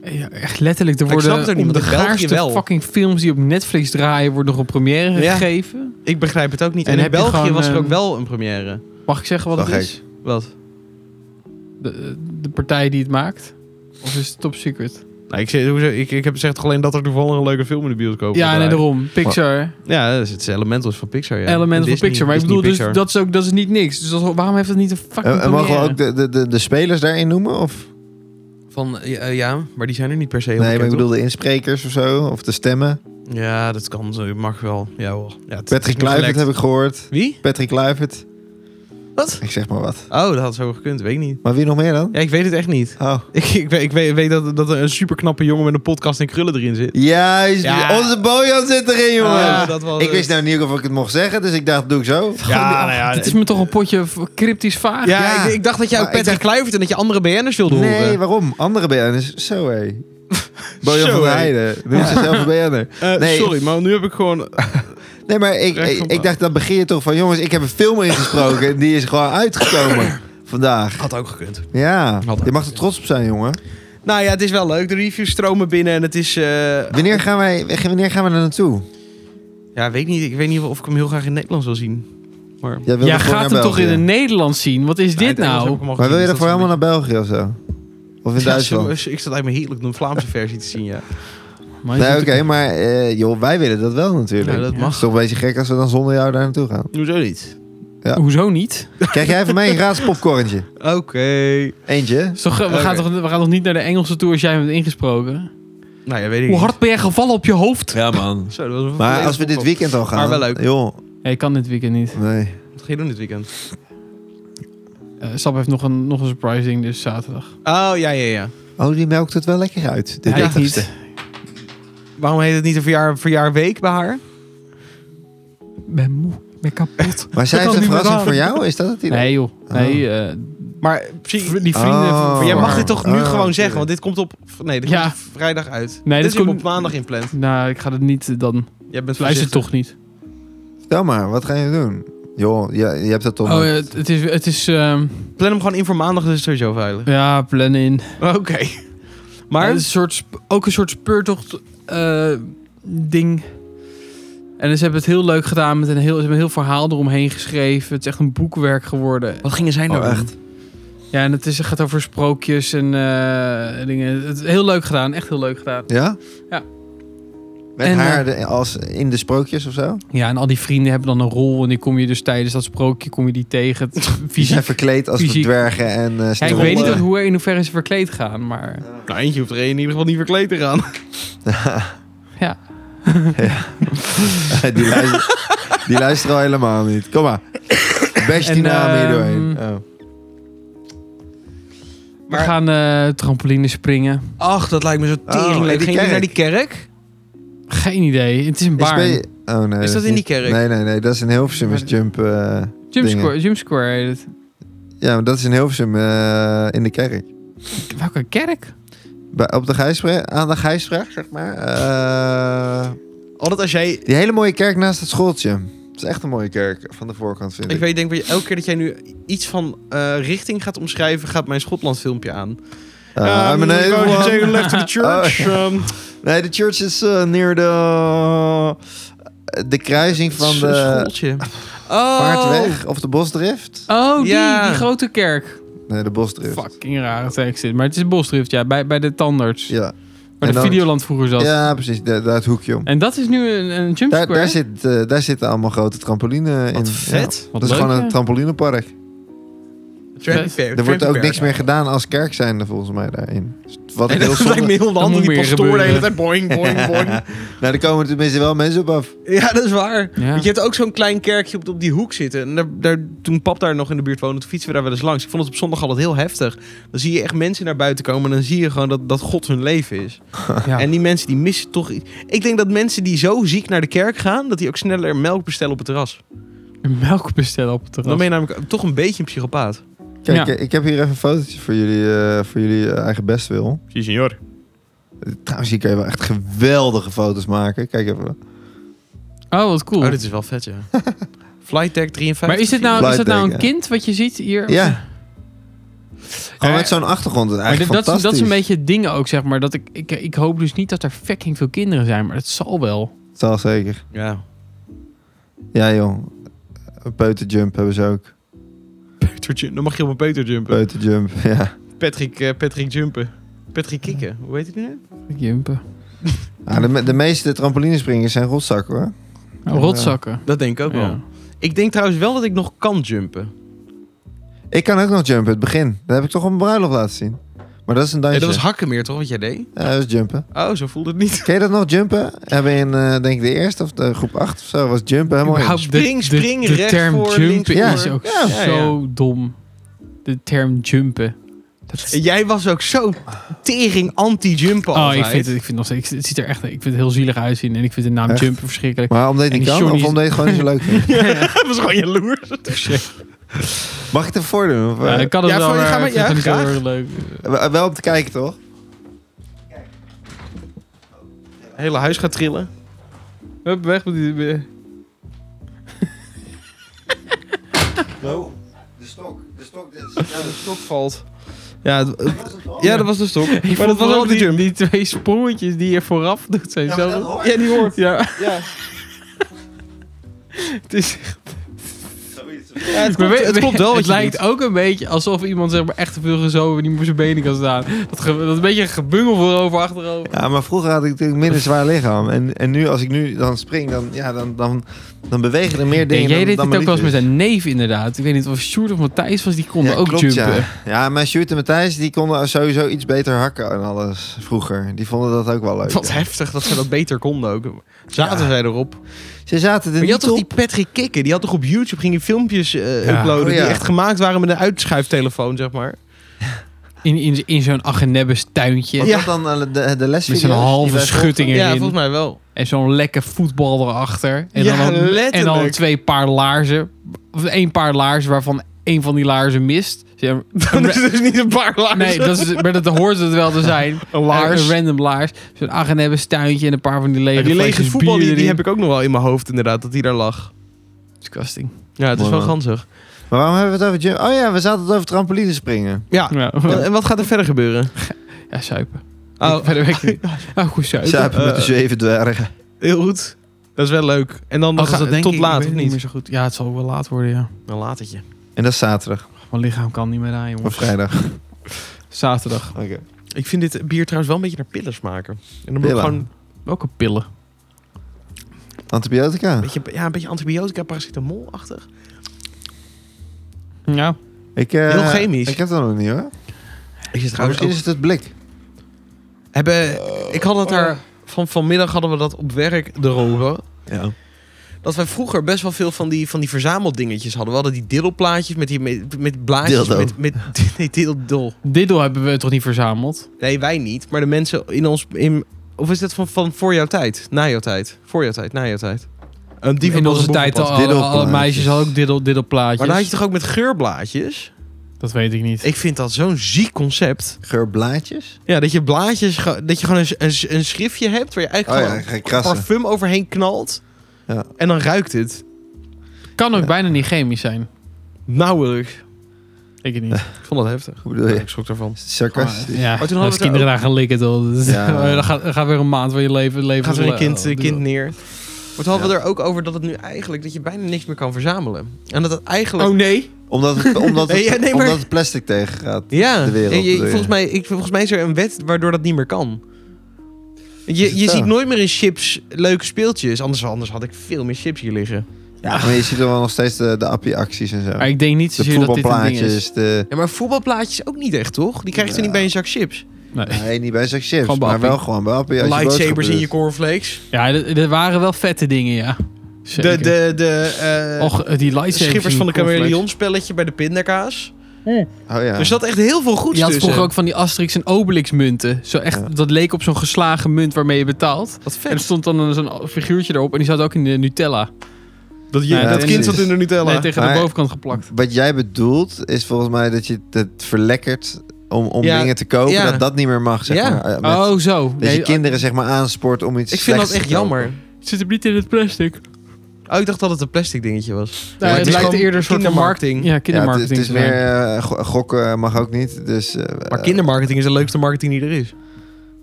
[SPEAKER 2] Ja, echt letterlijk. Er
[SPEAKER 1] Ik snap het ook
[SPEAKER 2] worden
[SPEAKER 1] niet,
[SPEAKER 2] om de
[SPEAKER 1] want in België
[SPEAKER 2] gaarste
[SPEAKER 1] wel.
[SPEAKER 2] fucking films die op Netflix draaien... worden nog op première
[SPEAKER 1] Ja.
[SPEAKER 2] gegeven.
[SPEAKER 1] Ik begrijp het ook niet.
[SPEAKER 2] En
[SPEAKER 1] En, in
[SPEAKER 2] heb je
[SPEAKER 1] België
[SPEAKER 2] gewoon,
[SPEAKER 1] was er ook
[SPEAKER 2] eh,
[SPEAKER 1] wel een première.
[SPEAKER 2] Mag ik zeggen wat
[SPEAKER 3] Wel
[SPEAKER 2] het
[SPEAKER 3] gek.
[SPEAKER 2] is?
[SPEAKER 1] Wat?
[SPEAKER 2] De, de partij die het maakt? Of is het top secret?
[SPEAKER 1] Nou, ik, zeg, hoezo- ik, ik heb zeg toch alleen dat er toevallig een leuke film in de bioscoop
[SPEAKER 2] Ja, nee,
[SPEAKER 1] draait.
[SPEAKER 2] daarom. Pixar.
[SPEAKER 1] Ja, dat is het Elementals van Pixar. Ja.
[SPEAKER 2] element van
[SPEAKER 1] Disney-
[SPEAKER 2] Pixar. Maar ik
[SPEAKER 1] Disney
[SPEAKER 2] bedoel, dus,
[SPEAKER 1] Pixar.
[SPEAKER 2] dat, is ook, dat is niet niks. Dus dat- waarom heeft dat niet een fucking
[SPEAKER 3] Eh, En, en mogen we
[SPEAKER 2] première?
[SPEAKER 3] ook de, de, de, de spelers daarin noemen? Of?
[SPEAKER 1] Van, ja, eh, ja, maar die zijn er niet per se heel
[SPEAKER 3] nee, maar ik
[SPEAKER 1] bekend,
[SPEAKER 3] bedoel de insprekers of zo. Of de stemmen.
[SPEAKER 1] toch? Ja, dat kan zo. Mag wel. Ja hoor. Ja, het- het is
[SPEAKER 3] Patrick
[SPEAKER 1] nog
[SPEAKER 3] Kluivert
[SPEAKER 1] gelekt.
[SPEAKER 3] heb ik gehoord.
[SPEAKER 1] Wie?
[SPEAKER 3] Patrick Kluivert.
[SPEAKER 1] Wat?
[SPEAKER 3] Ik zeg maar wat.
[SPEAKER 1] Oh, dat had zo gekund. Weet ik niet.
[SPEAKER 3] Maar wie nog meer dan?
[SPEAKER 1] Ja, ik weet het echt niet.
[SPEAKER 3] Oh.
[SPEAKER 1] Ik, ik, weet, ik weet, weet dat, dat er een superknappe jongen met een podcast en krullen erin zit.
[SPEAKER 3] Juist.
[SPEAKER 1] Ja.
[SPEAKER 3] Onze Bojan zit erin, jongen.
[SPEAKER 1] Ja, dat was
[SPEAKER 3] ik wist nou niet of ik het mocht zeggen, dus ik dacht, doe ik zo.
[SPEAKER 1] Ja, nou ja.
[SPEAKER 2] Het is me toch een potje v- cryptisch vaag.
[SPEAKER 1] Ja,
[SPEAKER 3] Ja.
[SPEAKER 1] Ik, ik dacht dat jij ook
[SPEAKER 3] Maar ik
[SPEAKER 1] Patrick Kluivert en dat je andere BN'ers wilde
[SPEAKER 3] Nee,
[SPEAKER 1] horen.
[SPEAKER 3] waarom? Andere BN'ers. Zo, hé. Bojan
[SPEAKER 1] Zo,
[SPEAKER 3] van der
[SPEAKER 1] hé.
[SPEAKER 3] Heijden. Noem zichzelf een BN'er.
[SPEAKER 1] Eh,
[SPEAKER 3] nee.
[SPEAKER 1] Sorry, maar nu heb ik gewoon...
[SPEAKER 3] Nee, maar ik,
[SPEAKER 1] Recht van
[SPEAKER 3] ik, ik dacht, dan begin je toch van... Jongens, ik heb een film ingesproken en die is gewoon uitgekomen vandaag.
[SPEAKER 1] Had ook gekund.
[SPEAKER 3] Ja,
[SPEAKER 1] Had ook.
[SPEAKER 3] je mag er trots op zijn, jongen.
[SPEAKER 1] Nou ja, het is wel leuk. De reviews stromen binnen en het is... eh,
[SPEAKER 3] Wanneer gaan wij, wanneer gaan we er naartoe?
[SPEAKER 1] Ja, weet ik niet. Ik weet niet of ik hem heel graag in Nederland wil zien. Maar...
[SPEAKER 3] Jij wilde
[SPEAKER 2] Jij
[SPEAKER 3] gewoon
[SPEAKER 2] gaat hem
[SPEAKER 3] naar
[SPEAKER 2] toch
[SPEAKER 3] België.
[SPEAKER 2] in het Nederlands zien? Wat is dit nou?
[SPEAKER 3] Maar wil je
[SPEAKER 1] dus
[SPEAKER 3] daarvoor helemaal naar België of zo? Of in Duitsland?
[SPEAKER 1] ik zat eigenlijk maar heerlijk om de Vlaamse versie te zien, ja.
[SPEAKER 2] Maar je
[SPEAKER 3] Nee, oké,
[SPEAKER 2] doet-
[SPEAKER 3] maar eh, joh, wij willen dat wel natuurlijk.
[SPEAKER 1] Ja, dat
[SPEAKER 3] Het
[SPEAKER 1] mag.
[SPEAKER 3] is toch een beetje gek als we dan zonder jou daar naartoe gaan.
[SPEAKER 1] Hoezo niet?
[SPEAKER 3] ja.
[SPEAKER 2] Hoezo niet?
[SPEAKER 3] Krijg jij van mij een gratis popcornje?
[SPEAKER 1] Oké.
[SPEAKER 3] Eentje?
[SPEAKER 2] Is toch- we,
[SPEAKER 1] Oké.
[SPEAKER 2] gaan toch, we gaan toch niet naar de Engelse tour als jij bent ingesproken?
[SPEAKER 1] Nou ja, weet ik
[SPEAKER 2] Hoe
[SPEAKER 1] niet.
[SPEAKER 2] hard ben jij gevallen op je hoofd?
[SPEAKER 3] Ja, man.
[SPEAKER 1] Zo, dat was een
[SPEAKER 3] Maar
[SPEAKER 1] volledig
[SPEAKER 3] als we dit
[SPEAKER 1] opbouw.
[SPEAKER 3] weekend al gaan...
[SPEAKER 1] Maar wel leuk.
[SPEAKER 3] Joh,
[SPEAKER 2] Ja, ik kan dit weekend niet.
[SPEAKER 3] nee.
[SPEAKER 1] Wat ga je doen dit weekend?
[SPEAKER 2] Eh Sap heeft nog een, nog een surprise ding, dus zaterdag.
[SPEAKER 1] Oh, ja, ja, ja.
[SPEAKER 3] Oh, die melkt het wel lekker uit. Dit
[SPEAKER 2] Hij
[SPEAKER 3] dertigste.
[SPEAKER 2] niet.
[SPEAKER 1] Waarom heet het niet een verjaar, verjaarweek bij haar?
[SPEAKER 2] Ik ben moe. Ik ben kapot.
[SPEAKER 3] Maar zij
[SPEAKER 2] kan
[SPEAKER 3] heeft
[SPEAKER 2] niet
[SPEAKER 3] een
[SPEAKER 2] meer
[SPEAKER 3] verrassing
[SPEAKER 2] aan.
[SPEAKER 3] voor jou? Is dat het idee?
[SPEAKER 2] Nee joh. Nee, eh,
[SPEAKER 1] Maar die vrienden...
[SPEAKER 3] Ah. Oh.
[SPEAKER 1] van- jij mag dit toch nu
[SPEAKER 3] Oh,
[SPEAKER 1] gewoon zeggen,
[SPEAKER 3] tuurlijk.
[SPEAKER 1] want dit komt op... Nee, dit
[SPEAKER 2] Ja.
[SPEAKER 1] komt op vrijdag uit. dit
[SPEAKER 2] Nee, dit
[SPEAKER 1] is komt...
[SPEAKER 2] komt-
[SPEAKER 1] op maandag gepland.
[SPEAKER 2] Nou, ik ga het niet eh, dan.
[SPEAKER 1] Jij bent
[SPEAKER 2] Luister
[SPEAKER 1] voorzichtig.
[SPEAKER 2] toch niet.
[SPEAKER 3] Vertel maar, wat ga je doen? Joh, je, je hebt dat toch...
[SPEAKER 2] Oh,
[SPEAKER 3] niet.
[SPEAKER 2] ja, het, het is, het is ehm,
[SPEAKER 1] Plan hem gewoon in voor maandag, dat is sowieso veilig.
[SPEAKER 2] ja, plannen in.
[SPEAKER 1] Oké. dus Maar...
[SPEAKER 2] Ja, het is een soort, sp- ook een soort speurtocht eh, ding. En ze hebben het heel leuk gedaan. Met een heel, ze hebben een heel verhaal eromheen geschreven. Het is echt een boekwerk geworden.
[SPEAKER 1] Wat gingen zij
[SPEAKER 3] Oh,
[SPEAKER 1] nou
[SPEAKER 3] echt?
[SPEAKER 2] Ja, en het, is, het gaat over sprookjes en eh, dingen. Het is heel leuk gedaan. Echt heel leuk gedaan.
[SPEAKER 3] Ja?
[SPEAKER 2] Ja.
[SPEAKER 3] Met
[SPEAKER 2] En, eh,
[SPEAKER 3] haar de- als in de sprookjes of zo?
[SPEAKER 2] Ja, en al die vrienden hebben dan een rol. En die kom je dus tijdens dat sprookje kom je die tegen. Het
[SPEAKER 3] Die
[SPEAKER 2] fysiek.
[SPEAKER 3] zijn verkleed als
[SPEAKER 2] fysiek.
[SPEAKER 3] dwergen en eh
[SPEAKER 2] Ja, ik
[SPEAKER 3] snorren.
[SPEAKER 2] weet niet hoe, in hoeverre ze verkleed gaan, maar...
[SPEAKER 1] Nou, eentje hoeft er in ieder geval niet verkleed te gaan.
[SPEAKER 2] Ja.
[SPEAKER 3] die, luisteren, die luisteren al helemaal niet. Kom maar. Bash die
[SPEAKER 2] En,
[SPEAKER 3] naam hier
[SPEAKER 2] ehm,
[SPEAKER 3] doorheen. Oh.
[SPEAKER 1] Maar-
[SPEAKER 2] We gaan eh trampoline springen.
[SPEAKER 1] Ach, dat lijkt me zo
[SPEAKER 3] Oh,
[SPEAKER 1] tering.
[SPEAKER 3] in die
[SPEAKER 1] Ging je
[SPEAKER 3] kerk.
[SPEAKER 1] naar die kerk?
[SPEAKER 2] Geen idee. Het is een
[SPEAKER 3] Is
[SPEAKER 2] baar.
[SPEAKER 3] bij- oh, nee,
[SPEAKER 1] Is dat in
[SPEAKER 3] niet-
[SPEAKER 1] die kerk?
[SPEAKER 3] Nee, nee, nee. Dat is in Hilversum. Is jump, eh,
[SPEAKER 2] Jump
[SPEAKER 3] dingen.
[SPEAKER 2] Square, Jump Square heet het.
[SPEAKER 3] ja, maar dat is in Hilversum eh, in de kerk.
[SPEAKER 2] Welke kerk?
[SPEAKER 3] Bij, op de Gijsbra- aan de Gijsbraag, zeg maar. Eh,
[SPEAKER 1] Altijd als jij...
[SPEAKER 3] die hele mooie kerk naast het schooltje. Het is echt een mooie kerk van de voorkant, vind ik.
[SPEAKER 1] Ik weet denk ik, elke keer dat jij nu iets van eh, richting gaat omschrijven, gaat mijn Schotland filmpje aan.
[SPEAKER 3] Eh,
[SPEAKER 1] Ah,
[SPEAKER 3] I'm an able one.
[SPEAKER 1] left to the
[SPEAKER 3] church.
[SPEAKER 2] ehm.
[SPEAKER 3] Nee, de church is eh, neer de... De kruising van de
[SPEAKER 1] schooltje.
[SPEAKER 2] Oh!
[SPEAKER 3] Vaartweg of de Bosdrift.
[SPEAKER 2] Oh, die,
[SPEAKER 1] Ja.
[SPEAKER 2] die grote kerk.
[SPEAKER 3] Nee, de Bosdrift.
[SPEAKER 2] Fucking rare tekst dit. Maar het is Bosdrift, ja. Bij, bij de tandarts.
[SPEAKER 3] Ja.
[SPEAKER 2] Waar
[SPEAKER 3] En
[SPEAKER 2] de
[SPEAKER 3] dan-
[SPEAKER 2] Videoland vroeger zat.
[SPEAKER 3] ja, precies. Daar, daar het hoekje om.
[SPEAKER 2] En dat is nu een, een Jump
[SPEAKER 3] Daar,
[SPEAKER 2] Square.
[SPEAKER 3] daar, zit, eh, daar zitten allemaal grote trampolines in.
[SPEAKER 1] Wat
[SPEAKER 3] Ja.
[SPEAKER 1] vet.
[SPEAKER 2] Wat
[SPEAKER 3] dat is
[SPEAKER 2] leuk,
[SPEAKER 3] gewoon
[SPEAKER 2] hè?
[SPEAKER 3] een trampolinepark.
[SPEAKER 1] Trampy Bear-
[SPEAKER 3] Er wordt
[SPEAKER 1] Trampy
[SPEAKER 3] ook
[SPEAKER 1] Bear.
[SPEAKER 3] niks meer gedaan als kerk zijnde volgens mij daarin. Dus Wat
[SPEAKER 1] En
[SPEAKER 3] ik heel
[SPEAKER 1] dat lijkt me
[SPEAKER 3] zonde...
[SPEAKER 1] heel
[SPEAKER 2] Dat
[SPEAKER 1] handig,
[SPEAKER 2] moet
[SPEAKER 1] die
[SPEAKER 2] meer
[SPEAKER 1] pastoor de hele
[SPEAKER 2] gebeuren.
[SPEAKER 1] tijd boing, boing, boing.
[SPEAKER 3] nou, daar komen tenminste wel mensen op af.
[SPEAKER 1] Ja, dat is waar.
[SPEAKER 2] Ja.
[SPEAKER 1] Want je hebt ook zo'n klein kerkje op, op die hoek zitten. En daar, daar, toen pap daar nog in de buurt woonde, toen fietsen we daar wel eens langs. Ik vond het op zondag altijd heel heftig. Dan zie je echt mensen naar buiten komen en dan zie je gewoon dat, dat God hun leven is.
[SPEAKER 2] Ja.
[SPEAKER 1] En die mensen die missen toch iets. Ik denk dat mensen die zo ziek naar de kerk gaan, dat die ook sneller melk bestellen op het terras.
[SPEAKER 2] Een melk bestellen op het
[SPEAKER 1] Dan
[SPEAKER 2] terras.
[SPEAKER 1] ben je namelijk toch een beetje een psychopaat.
[SPEAKER 2] Ja.
[SPEAKER 3] Kijk, eh, ik heb hier even een fotootje voor jullie, eh, voor jullie eh, eigen bestwil.
[SPEAKER 1] Zie senor.
[SPEAKER 3] Eh, Trouwens, hier kan je wel echt geweldige foto's maken. Kijk even.
[SPEAKER 2] Oh, wat cool.
[SPEAKER 1] Oh, dit is wel vet, ja. Flytech 53.
[SPEAKER 2] maar is dit nou, is dat nou een
[SPEAKER 3] Flightdeck,
[SPEAKER 2] kind wat je ziet hier?
[SPEAKER 3] Ja. Gewoon
[SPEAKER 2] Ja,
[SPEAKER 3] met zo'n achtergrond. Dat is
[SPEAKER 2] Maar dit-
[SPEAKER 3] eigenlijk
[SPEAKER 2] dat, is, dat is
[SPEAKER 3] fantastisch.
[SPEAKER 2] een beetje het ding ook, zeg maar. Dat ik, ik, ik hoop dus niet dat er fucking veel kinderen zijn, maar dat zal wel.
[SPEAKER 3] Zal zeker.
[SPEAKER 1] Ja.
[SPEAKER 3] Ja, joh. Een peuterjump hebben ze ook.
[SPEAKER 1] Peuterjump. Dan mag je op een Peter jumpen.
[SPEAKER 3] Peuterjump, ja.
[SPEAKER 1] Patrick, eh, Patrick jumpen. Patrick kikken. Hoe heet het nu?
[SPEAKER 2] Ik Jumpen.
[SPEAKER 3] Ah, de, me- de meeste trampolinespringers zijn rotzakken, hoor.
[SPEAKER 2] Nou, rotzakken.
[SPEAKER 1] Dat denk ik ook wel.
[SPEAKER 2] Ja.
[SPEAKER 1] Ik denk trouwens wel dat ik nog kan jumpen.
[SPEAKER 3] Ik kan ook nog jumpen, het begin. Dat heb ik toch op een bruiloft laten zien. Maar dat is een
[SPEAKER 1] Ja,
[SPEAKER 3] dansje.
[SPEAKER 1] dat was hakken meer toch, wat jij deed?
[SPEAKER 3] Ja, dat is jumpen.
[SPEAKER 1] Oh, zo voelde het niet.
[SPEAKER 3] Ken je dat nog, jumpen? Hebben we in, eh, denk ik, de eerste of de groep 8 of zo, was jumpen helemaal in.
[SPEAKER 2] Überhaupt de-
[SPEAKER 1] Spring,
[SPEAKER 2] de-
[SPEAKER 1] spring,
[SPEAKER 2] de,
[SPEAKER 1] recht
[SPEAKER 2] term
[SPEAKER 1] voor, links
[SPEAKER 2] jumpen
[SPEAKER 3] voor.
[SPEAKER 2] is ook
[SPEAKER 3] Ja,
[SPEAKER 1] ja,
[SPEAKER 2] zo dom. De term jumpen. Dat is-
[SPEAKER 1] En Jij was ook zo tering anti-jumpen
[SPEAKER 2] oh,
[SPEAKER 1] altijd.
[SPEAKER 2] ik vind, het, ik vind het nog steeds, het ziet er echt, ik vind het heel zielig uitzien en ik vind de naam
[SPEAKER 3] Echt?
[SPEAKER 2] jumpen verschrikkelijk.
[SPEAKER 3] Maar omdat je het niet
[SPEAKER 2] En
[SPEAKER 3] kan,
[SPEAKER 2] die Johnny's-
[SPEAKER 3] of omdat je het gewoon niet zo leuk vindt.
[SPEAKER 1] dat was gewoon jaloers.
[SPEAKER 3] Mag ik het ervoor doen? Of,
[SPEAKER 2] Ja,
[SPEAKER 3] eh,
[SPEAKER 2] ik kan het
[SPEAKER 1] ja,
[SPEAKER 2] wel,
[SPEAKER 1] voor je
[SPEAKER 2] maar
[SPEAKER 1] gaan
[SPEAKER 2] ik
[SPEAKER 1] we-
[SPEAKER 2] vind het
[SPEAKER 1] ja,
[SPEAKER 2] niet zo
[SPEAKER 1] graag.
[SPEAKER 2] heel erg leuk.
[SPEAKER 3] w- Wel om te kijken, toch?
[SPEAKER 1] hele huis gaat trillen.
[SPEAKER 2] Hup, weg met die...
[SPEAKER 3] No. De stok. De stok.
[SPEAKER 1] De stok valt. Ja, het- ja, dat was de stok.
[SPEAKER 2] Ik
[SPEAKER 1] maar dat was ook de
[SPEAKER 2] die,
[SPEAKER 1] jump.
[SPEAKER 2] die twee sprongetjes die je vooraf doet zijn zo...
[SPEAKER 1] Ja, die hoort.
[SPEAKER 2] Ja,
[SPEAKER 1] Ja.
[SPEAKER 2] het is
[SPEAKER 1] Ja, het klopt, het klopt wel wat
[SPEAKER 2] Het
[SPEAKER 1] je
[SPEAKER 2] lijkt
[SPEAKER 1] doet.
[SPEAKER 2] ook een beetje alsof iemand zeg maar, echt te veel gezogen niet meer op zijn benen kan staan. Dat, ge- dat een beetje gebungel voorover, achterover.
[SPEAKER 3] Ja, maar vroeger had ik natuurlijk minder zwaar lichaam. En, en nu, als ik nu dan spring, dan, ja, dan, dan, dan bewegen er meer dingen
[SPEAKER 2] Ja, jij
[SPEAKER 3] dan,
[SPEAKER 2] deed
[SPEAKER 3] dan
[SPEAKER 2] dit ook wel
[SPEAKER 3] mijn
[SPEAKER 2] eens met
[SPEAKER 3] liefde is.
[SPEAKER 2] zijn neef inderdaad. Ik weet niet of Sjoerd of Matthijs was, die konden
[SPEAKER 3] Ja,
[SPEAKER 2] ook
[SPEAKER 3] klopt,
[SPEAKER 2] jumpen.
[SPEAKER 3] Ja. ja, maar Sjoerd en Matthijs, die konden sowieso iets beter hakken en alles vroeger. Die vonden dat ook wel leuk.
[SPEAKER 1] Wat
[SPEAKER 3] ja.
[SPEAKER 1] heftig dat ze dat beter konden ook. Zaten
[SPEAKER 3] Ja.
[SPEAKER 1] zij erop.
[SPEAKER 3] Ze zaten er
[SPEAKER 1] Maar je had
[SPEAKER 3] niet
[SPEAKER 1] toch
[SPEAKER 3] op.
[SPEAKER 1] die Patrick Kikken? Die had toch op YouTube ging hij filmpjes eh,
[SPEAKER 2] Ja.
[SPEAKER 1] uploaden...
[SPEAKER 3] Oh, ja.
[SPEAKER 1] die echt gemaakt waren met een uitschuiftelefoon, zeg maar.
[SPEAKER 2] In, in, in zo'n agenebbes tuintje.
[SPEAKER 3] Was
[SPEAKER 1] Ja.
[SPEAKER 3] dat dan eh, de, de lesvideo's?
[SPEAKER 2] Met zo'n
[SPEAKER 3] die
[SPEAKER 2] halve
[SPEAKER 3] wij
[SPEAKER 2] schutting
[SPEAKER 1] Ja,
[SPEAKER 2] erin.
[SPEAKER 1] volgens mij wel.
[SPEAKER 2] en zo'n lekker voetbal erachter. En,
[SPEAKER 1] Ja,
[SPEAKER 2] dan, al- en dan
[SPEAKER 1] letterlijk.
[SPEAKER 2] twee paar laarzen. Of één paar laarzen waarvan één van die laarzen mist. Ja,
[SPEAKER 1] Dan is het dus niet een paar laarzen.
[SPEAKER 2] nee, dat is, maar dat hoort het wel te zijn.
[SPEAKER 1] een
[SPEAKER 2] Een random laars. Zo'n Agenebbes tuintje en een paar van die lege
[SPEAKER 1] Ja, die lege
[SPEAKER 2] flesjes
[SPEAKER 1] voetbal
[SPEAKER 2] bier
[SPEAKER 1] die, die
[SPEAKER 2] erin.
[SPEAKER 1] heb ik ook nog wel in mijn hoofd inderdaad, dat die daar lag.
[SPEAKER 2] Disgusting.
[SPEAKER 1] Ja, het is
[SPEAKER 3] Mooi
[SPEAKER 1] wel
[SPEAKER 3] man.
[SPEAKER 1] ganzig.
[SPEAKER 3] Maar waarom hebben we het over gym? Oh ja, we zaten het over trampolinespringen.
[SPEAKER 1] Ja.
[SPEAKER 2] Ja,
[SPEAKER 1] En wat gaat er verder gebeuren?
[SPEAKER 2] ja suipen.
[SPEAKER 1] Oh,
[SPEAKER 2] Verder weet ik niet. Nou, goed suipen.
[SPEAKER 3] Zuipen met de
[SPEAKER 1] eh,
[SPEAKER 3] zeven dwergen.
[SPEAKER 1] heel goed. Dat is wel leuk. En dan
[SPEAKER 2] Dan
[SPEAKER 1] was het tot laat, of
[SPEAKER 2] niet
[SPEAKER 1] niet?
[SPEAKER 2] meer zo goed. Ja, het zal ook wel laat worden, ja.
[SPEAKER 1] Een latertje.
[SPEAKER 3] En dat is zaterdag
[SPEAKER 2] Mijn lichaam kan niet meer aan,
[SPEAKER 3] of
[SPEAKER 2] jongens.
[SPEAKER 1] eh,
[SPEAKER 3] vrijdag.
[SPEAKER 2] Zaterdag.
[SPEAKER 3] Oké.
[SPEAKER 1] Ik vind dit bier trouwens wel een beetje naar pillers maken. En dan moet ik
[SPEAKER 3] Pillen.
[SPEAKER 1] gewoon een
[SPEAKER 2] Welke pillen?
[SPEAKER 3] Antibiotica.
[SPEAKER 1] beetje, ja, een beetje antibiotica, paracetamol-achtig.
[SPEAKER 2] Ja.
[SPEAKER 3] Ik, eh,
[SPEAKER 1] Heel chemisch.
[SPEAKER 3] Ik heb dat nog niet hoor.
[SPEAKER 1] Ik zit
[SPEAKER 3] Maar misschien is het het blik.
[SPEAKER 1] Hebben, ik had het daar... Van, vanmiddag hadden we dat op werk erover.
[SPEAKER 3] Ja.
[SPEAKER 1] Dat wij vroeger best wel veel van die, van die verzameldingetjes hadden. We hadden die diddelplaatjes met, die, met, met blaadjes.
[SPEAKER 3] Dildo.
[SPEAKER 1] Met, met, nee, diddel.
[SPEAKER 2] Diddel hebben we toch niet verzameld?
[SPEAKER 1] Nee, wij niet. Maar de mensen in ons... In, of is dat van, van voor jouw tijd? Na jouw tijd? Voor jouw tijd? Na jouw tijd? Een dief
[SPEAKER 2] In
[SPEAKER 1] op
[SPEAKER 2] onze
[SPEAKER 1] een
[SPEAKER 2] tijd al,
[SPEAKER 1] boekenpad.
[SPEAKER 2] alle, alle
[SPEAKER 3] Diddelplaatjes.
[SPEAKER 2] meisjes hadden ook diddel, diddelplaatjes.
[SPEAKER 1] Maar dan had je toch ook met geurblaadjes?
[SPEAKER 2] Dat weet ik niet.
[SPEAKER 1] Ik vind dat zo'n ziek concept.
[SPEAKER 3] Geurblaadjes.
[SPEAKER 1] Ja, dat je blaadjes... ge- Dat je gewoon een, s- een, s- een schriftje hebt waar je
[SPEAKER 3] Oh
[SPEAKER 1] eigenlijk
[SPEAKER 3] ja,
[SPEAKER 1] gewoon
[SPEAKER 3] ga ik krassen.
[SPEAKER 1] parfum overheen knalt.
[SPEAKER 3] Ja.
[SPEAKER 1] En dan ruikt het.
[SPEAKER 2] Kan ook bijna niet chemisch zijn.
[SPEAKER 1] Nauwelijks.
[SPEAKER 2] Ik het niet.
[SPEAKER 1] Ik vond dat heftig.
[SPEAKER 3] Hoe bedoel
[SPEAKER 1] Ja,
[SPEAKER 3] je?
[SPEAKER 1] ik schrok daarvan.
[SPEAKER 3] Sarcastisch.
[SPEAKER 1] Maar
[SPEAKER 2] Ja,
[SPEAKER 1] toen hadden we
[SPEAKER 2] als
[SPEAKER 1] het
[SPEAKER 2] kinderen daar gaan likken, toch? Dat, is-
[SPEAKER 3] Ja.
[SPEAKER 2] dat gaat, dat gaat weer een maand van je leven. leven
[SPEAKER 1] Gaat er een kind, eh,
[SPEAKER 2] Oh,
[SPEAKER 1] kind neer. Maar toen hadden we
[SPEAKER 3] Ja.
[SPEAKER 1] er ook over dat het nu eigenlijk... dat je bijna niks meer kan verzamelen. En dat het eigenlijk...
[SPEAKER 2] Oh nee.
[SPEAKER 3] Omdat, het, omdat, het,
[SPEAKER 1] Ja, nee, maar-
[SPEAKER 3] omdat het plastic tegengaat.
[SPEAKER 1] Ja,
[SPEAKER 3] de wereld,
[SPEAKER 1] en je-
[SPEAKER 3] bedoel je?
[SPEAKER 1] volgens, mij, ik, volgens mij is er een wet waardoor dat niet meer kan. Je,
[SPEAKER 3] het
[SPEAKER 1] je
[SPEAKER 3] zo?
[SPEAKER 1] ziet nooit meer in chips leuke speeltjes. Anders, anders had ik veel meer chips hier liggen.
[SPEAKER 3] Ja, maar je ziet er wel nog steeds de, de appie-acties en zo.
[SPEAKER 2] Maar ik denk niet
[SPEAKER 3] De
[SPEAKER 2] zozeer dat dit een ding is.
[SPEAKER 3] voetbalplaatjes, de...
[SPEAKER 1] Ja, maar voetbalplaatjes ook niet echt, toch? Die krijg je
[SPEAKER 3] Ja.
[SPEAKER 1] er niet bij een zak chips.
[SPEAKER 2] Nee.
[SPEAKER 3] Nee, niet bij zak
[SPEAKER 2] Gewoon
[SPEAKER 3] chips,
[SPEAKER 2] bij
[SPEAKER 3] maar
[SPEAKER 2] appie.
[SPEAKER 3] wel gewoon bij appie. als je
[SPEAKER 1] Lightsabers
[SPEAKER 3] boodschappen
[SPEAKER 1] in je
[SPEAKER 3] doet.
[SPEAKER 1] cornflakes.
[SPEAKER 2] Ja, er er waren wel vette dingen, ja.
[SPEAKER 1] De,
[SPEAKER 2] Zeker.
[SPEAKER 1] de, de eh,
[SPEAKER 2] Och, eh, die lightsabers.
[SPEAKER 1] schippers
[SPEAKER 2] in
[SPEAKER 1] van de
[SPEAKER 2] cornflakes.
[SPEAKER 1] chameleon spelletje bij de pindakaas.
[SPEAKER 3] Oh ja.
[SPEAKER 1] Er zat echt heel veel goeds
[SPEAKER 2] Je had
[SPEAKER 1] tussen.
[SPEAKER 2] vroeger ook van die Asterix en Obelix munten. Zo echt,
[SPEAKER 3] dus, Ja.
[SPEAKER 2] Dat leek op zo'n geslagen munt waarmee je betaalt.
[SPEAKER 1] Wat
[SPEAKER 2] En er
[SPEAKER 1] vet.
[SPEAKER 2] stond dan een- zo'n figuurtje erop en die zat ook in de Nutella.
[SPEAKER 1] Dat,
[SPEAKER 2] Ja,
[SPEAKER 1] dat
[SPEAKER 3] precies.
[SPEAKER 1] kind zat in de Nutella.
[SPEAKER 2] Nee, tegen
[SPEAKER 3] Maar-
[SPEAKER 2] de bovenkant geplakt.
[SPEAKER 3] Wat jij bedoelt is volgens mij dat je het verlekkert om, om
[SPEAKER 1] Ja,
[SPEAKER 3] dingen te kopen.
[SPEAKER 1] ja.
[SPEAKER 3] Dat dat niet meer mag, zeg
[SPEAKER 1] Ja. oh.
[SPEAKER 3] maar. eh, met-
[SPEAKER 2] oh, zo.
[SPEAKER 3] Dat
[SPEAKER 2] Nee,
[SPEAKER 3] je kinderen zeg maar aanspoort om iets
[SPEAKER 1] ik vind dat
[SPEAKER 3] slechts
[SPEAKER 1] echt
[SPEAKER 3] te kopen.
[SPEAKER 1] jammer.
[SPEAKER 2] Het zit hem niet in het plastic.
[SPEAKER 1] Oh, ik dacht dat het een plastic dingetje was.
[SPEAKER 2] Nee,
[SPEAKER 1] het
[SPEAKER 2] het,
[SPEAKER 1] is
[SPEAKER 2] lijkt
[SPEAKER 1] gewoon
[SPEAKER 2] eerder een soort van
[SPEAKER 1] kindermarketing.
[SPEAKER 2] marketing. Ja,
[SPEAKER 3] Ja, het, het
[SPEAKER 2] kindermarketing.
[SPEAKER 3] is
[SPEAKER 2] te zijn.
[SPEAKER 3] meer eh, go- gokken mag ook niet. Dus, eh,
[SPEAKER 1] Maar kindermarketing is de leukste marketing die er is.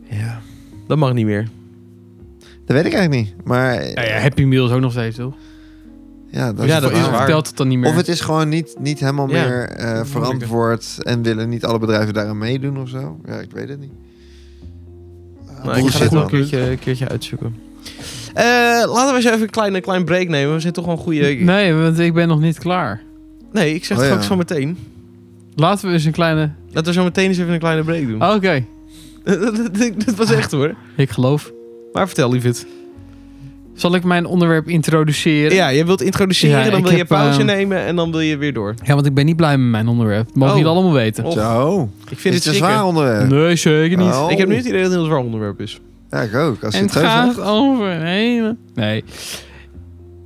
[SPEAKER 3] ja.
[SPEAKER 1] Dat mag niet meer.
[SPEAKER 3] Dat weet ik eigenlijk niet. Maar eh,
[SPEAKER 2] Ja, ja, Happy Meal is ook nog steeds, toch?
[SPEAKER 3] ja, dat,
[SPEAKER 1] Ja,
[SPEAKER 3] is
[SPEAKER 1] dat
[SPEAKER 3] waar.
[SPEAKER 1] is waar.
[SPEAKER 2] Vertelt het dan niet meer.
[SPEAKER 3] Of het is gewoon niet, niet helemaal
[SPEAKER 1] Ja.
[SPEAKER 3] meer eh,
[SPEAKER 1] Moeilijk.
[SPEAKER 3] verantwoord en willen niet alle bedrijven daaraan meedoen of zo. Ja, ik weet het niet. Eh,
[SPEAKER 1] Nou, ik
[SPEAKER 3] bullshit,
[SPEAKER 1] ga dit wel een
[SPEAKER 3] man.
[SPEAKER 1] keertje, een keertje uitzoeken. Eh, laten we eens even een klein, een klein break nemen. We zijn toch wel een goede... Nee,
[SPEAKER 2] Nee, want ik ben nog niet klaar.
[SPEAKER 1] ik zeg
[SPEAKER 3] Oh,
[SPEAKER 1] het
[SPEAKER 3] ja.
[SPEAKER 1] ook zo meteen.
[SPEAKER 2] Laten we eens een kleine...
[SPEAKER 1] Laten we zo meteen eens even een kleine break doen.
[SPEAKER 2] Oh, Oké,
[SPEAKER 1] dat was echt hoor.
[SPEAKER 2] ik geloof.
[SPEAKER 1] Maar vertel, lieverd.
[SPEAKER 2] Zal ik mijn onderwerp introduceren?
[SPEAKER 1] Ja, je wilt introduceren,
[SPEAKER 2] Ja,
[SPEAKER 1] dan
[SPEAKER 2] ik
[SPEAKER 1] wil je
[SPEAKER 2] heb,
[SPEAKER 1] pauze
[SPEAKER 2] eh,
[SPEAKER 1] nemen en dan wil je weer door.
[SPEAKER 2] Ja, want ik ben niet blij met mijn onderwerp. Dat Mogen
[SPEAKER 1] Oh.
[SPEAKER 2] jullie allemaal weten?
[SPEAKER 1] Oh,
[SPEAKER 3] Zo,
[SPEAKER 1] Ik vind
[SPEAKER 3] dit
[SPEAKER 1] het
[SPEAKER 3] is een
[SPEAKER 1] schrikken.
[SPEAKER 3] zwaar onderwerp.
[SPEAKER 2] Nee, zeker niet.
[SPEAKER 3] Oh.
[SPEAKER 1] Ik heb nu het idee dat het een heel zwaar onderwerp is.
[SPEAKER 3] Ja, ik ook. Als je
[SPEAKER 2] En het
[SPEAKER 3] het zo zegt.
[SPEAKER 2] gaat over een hele... Nee.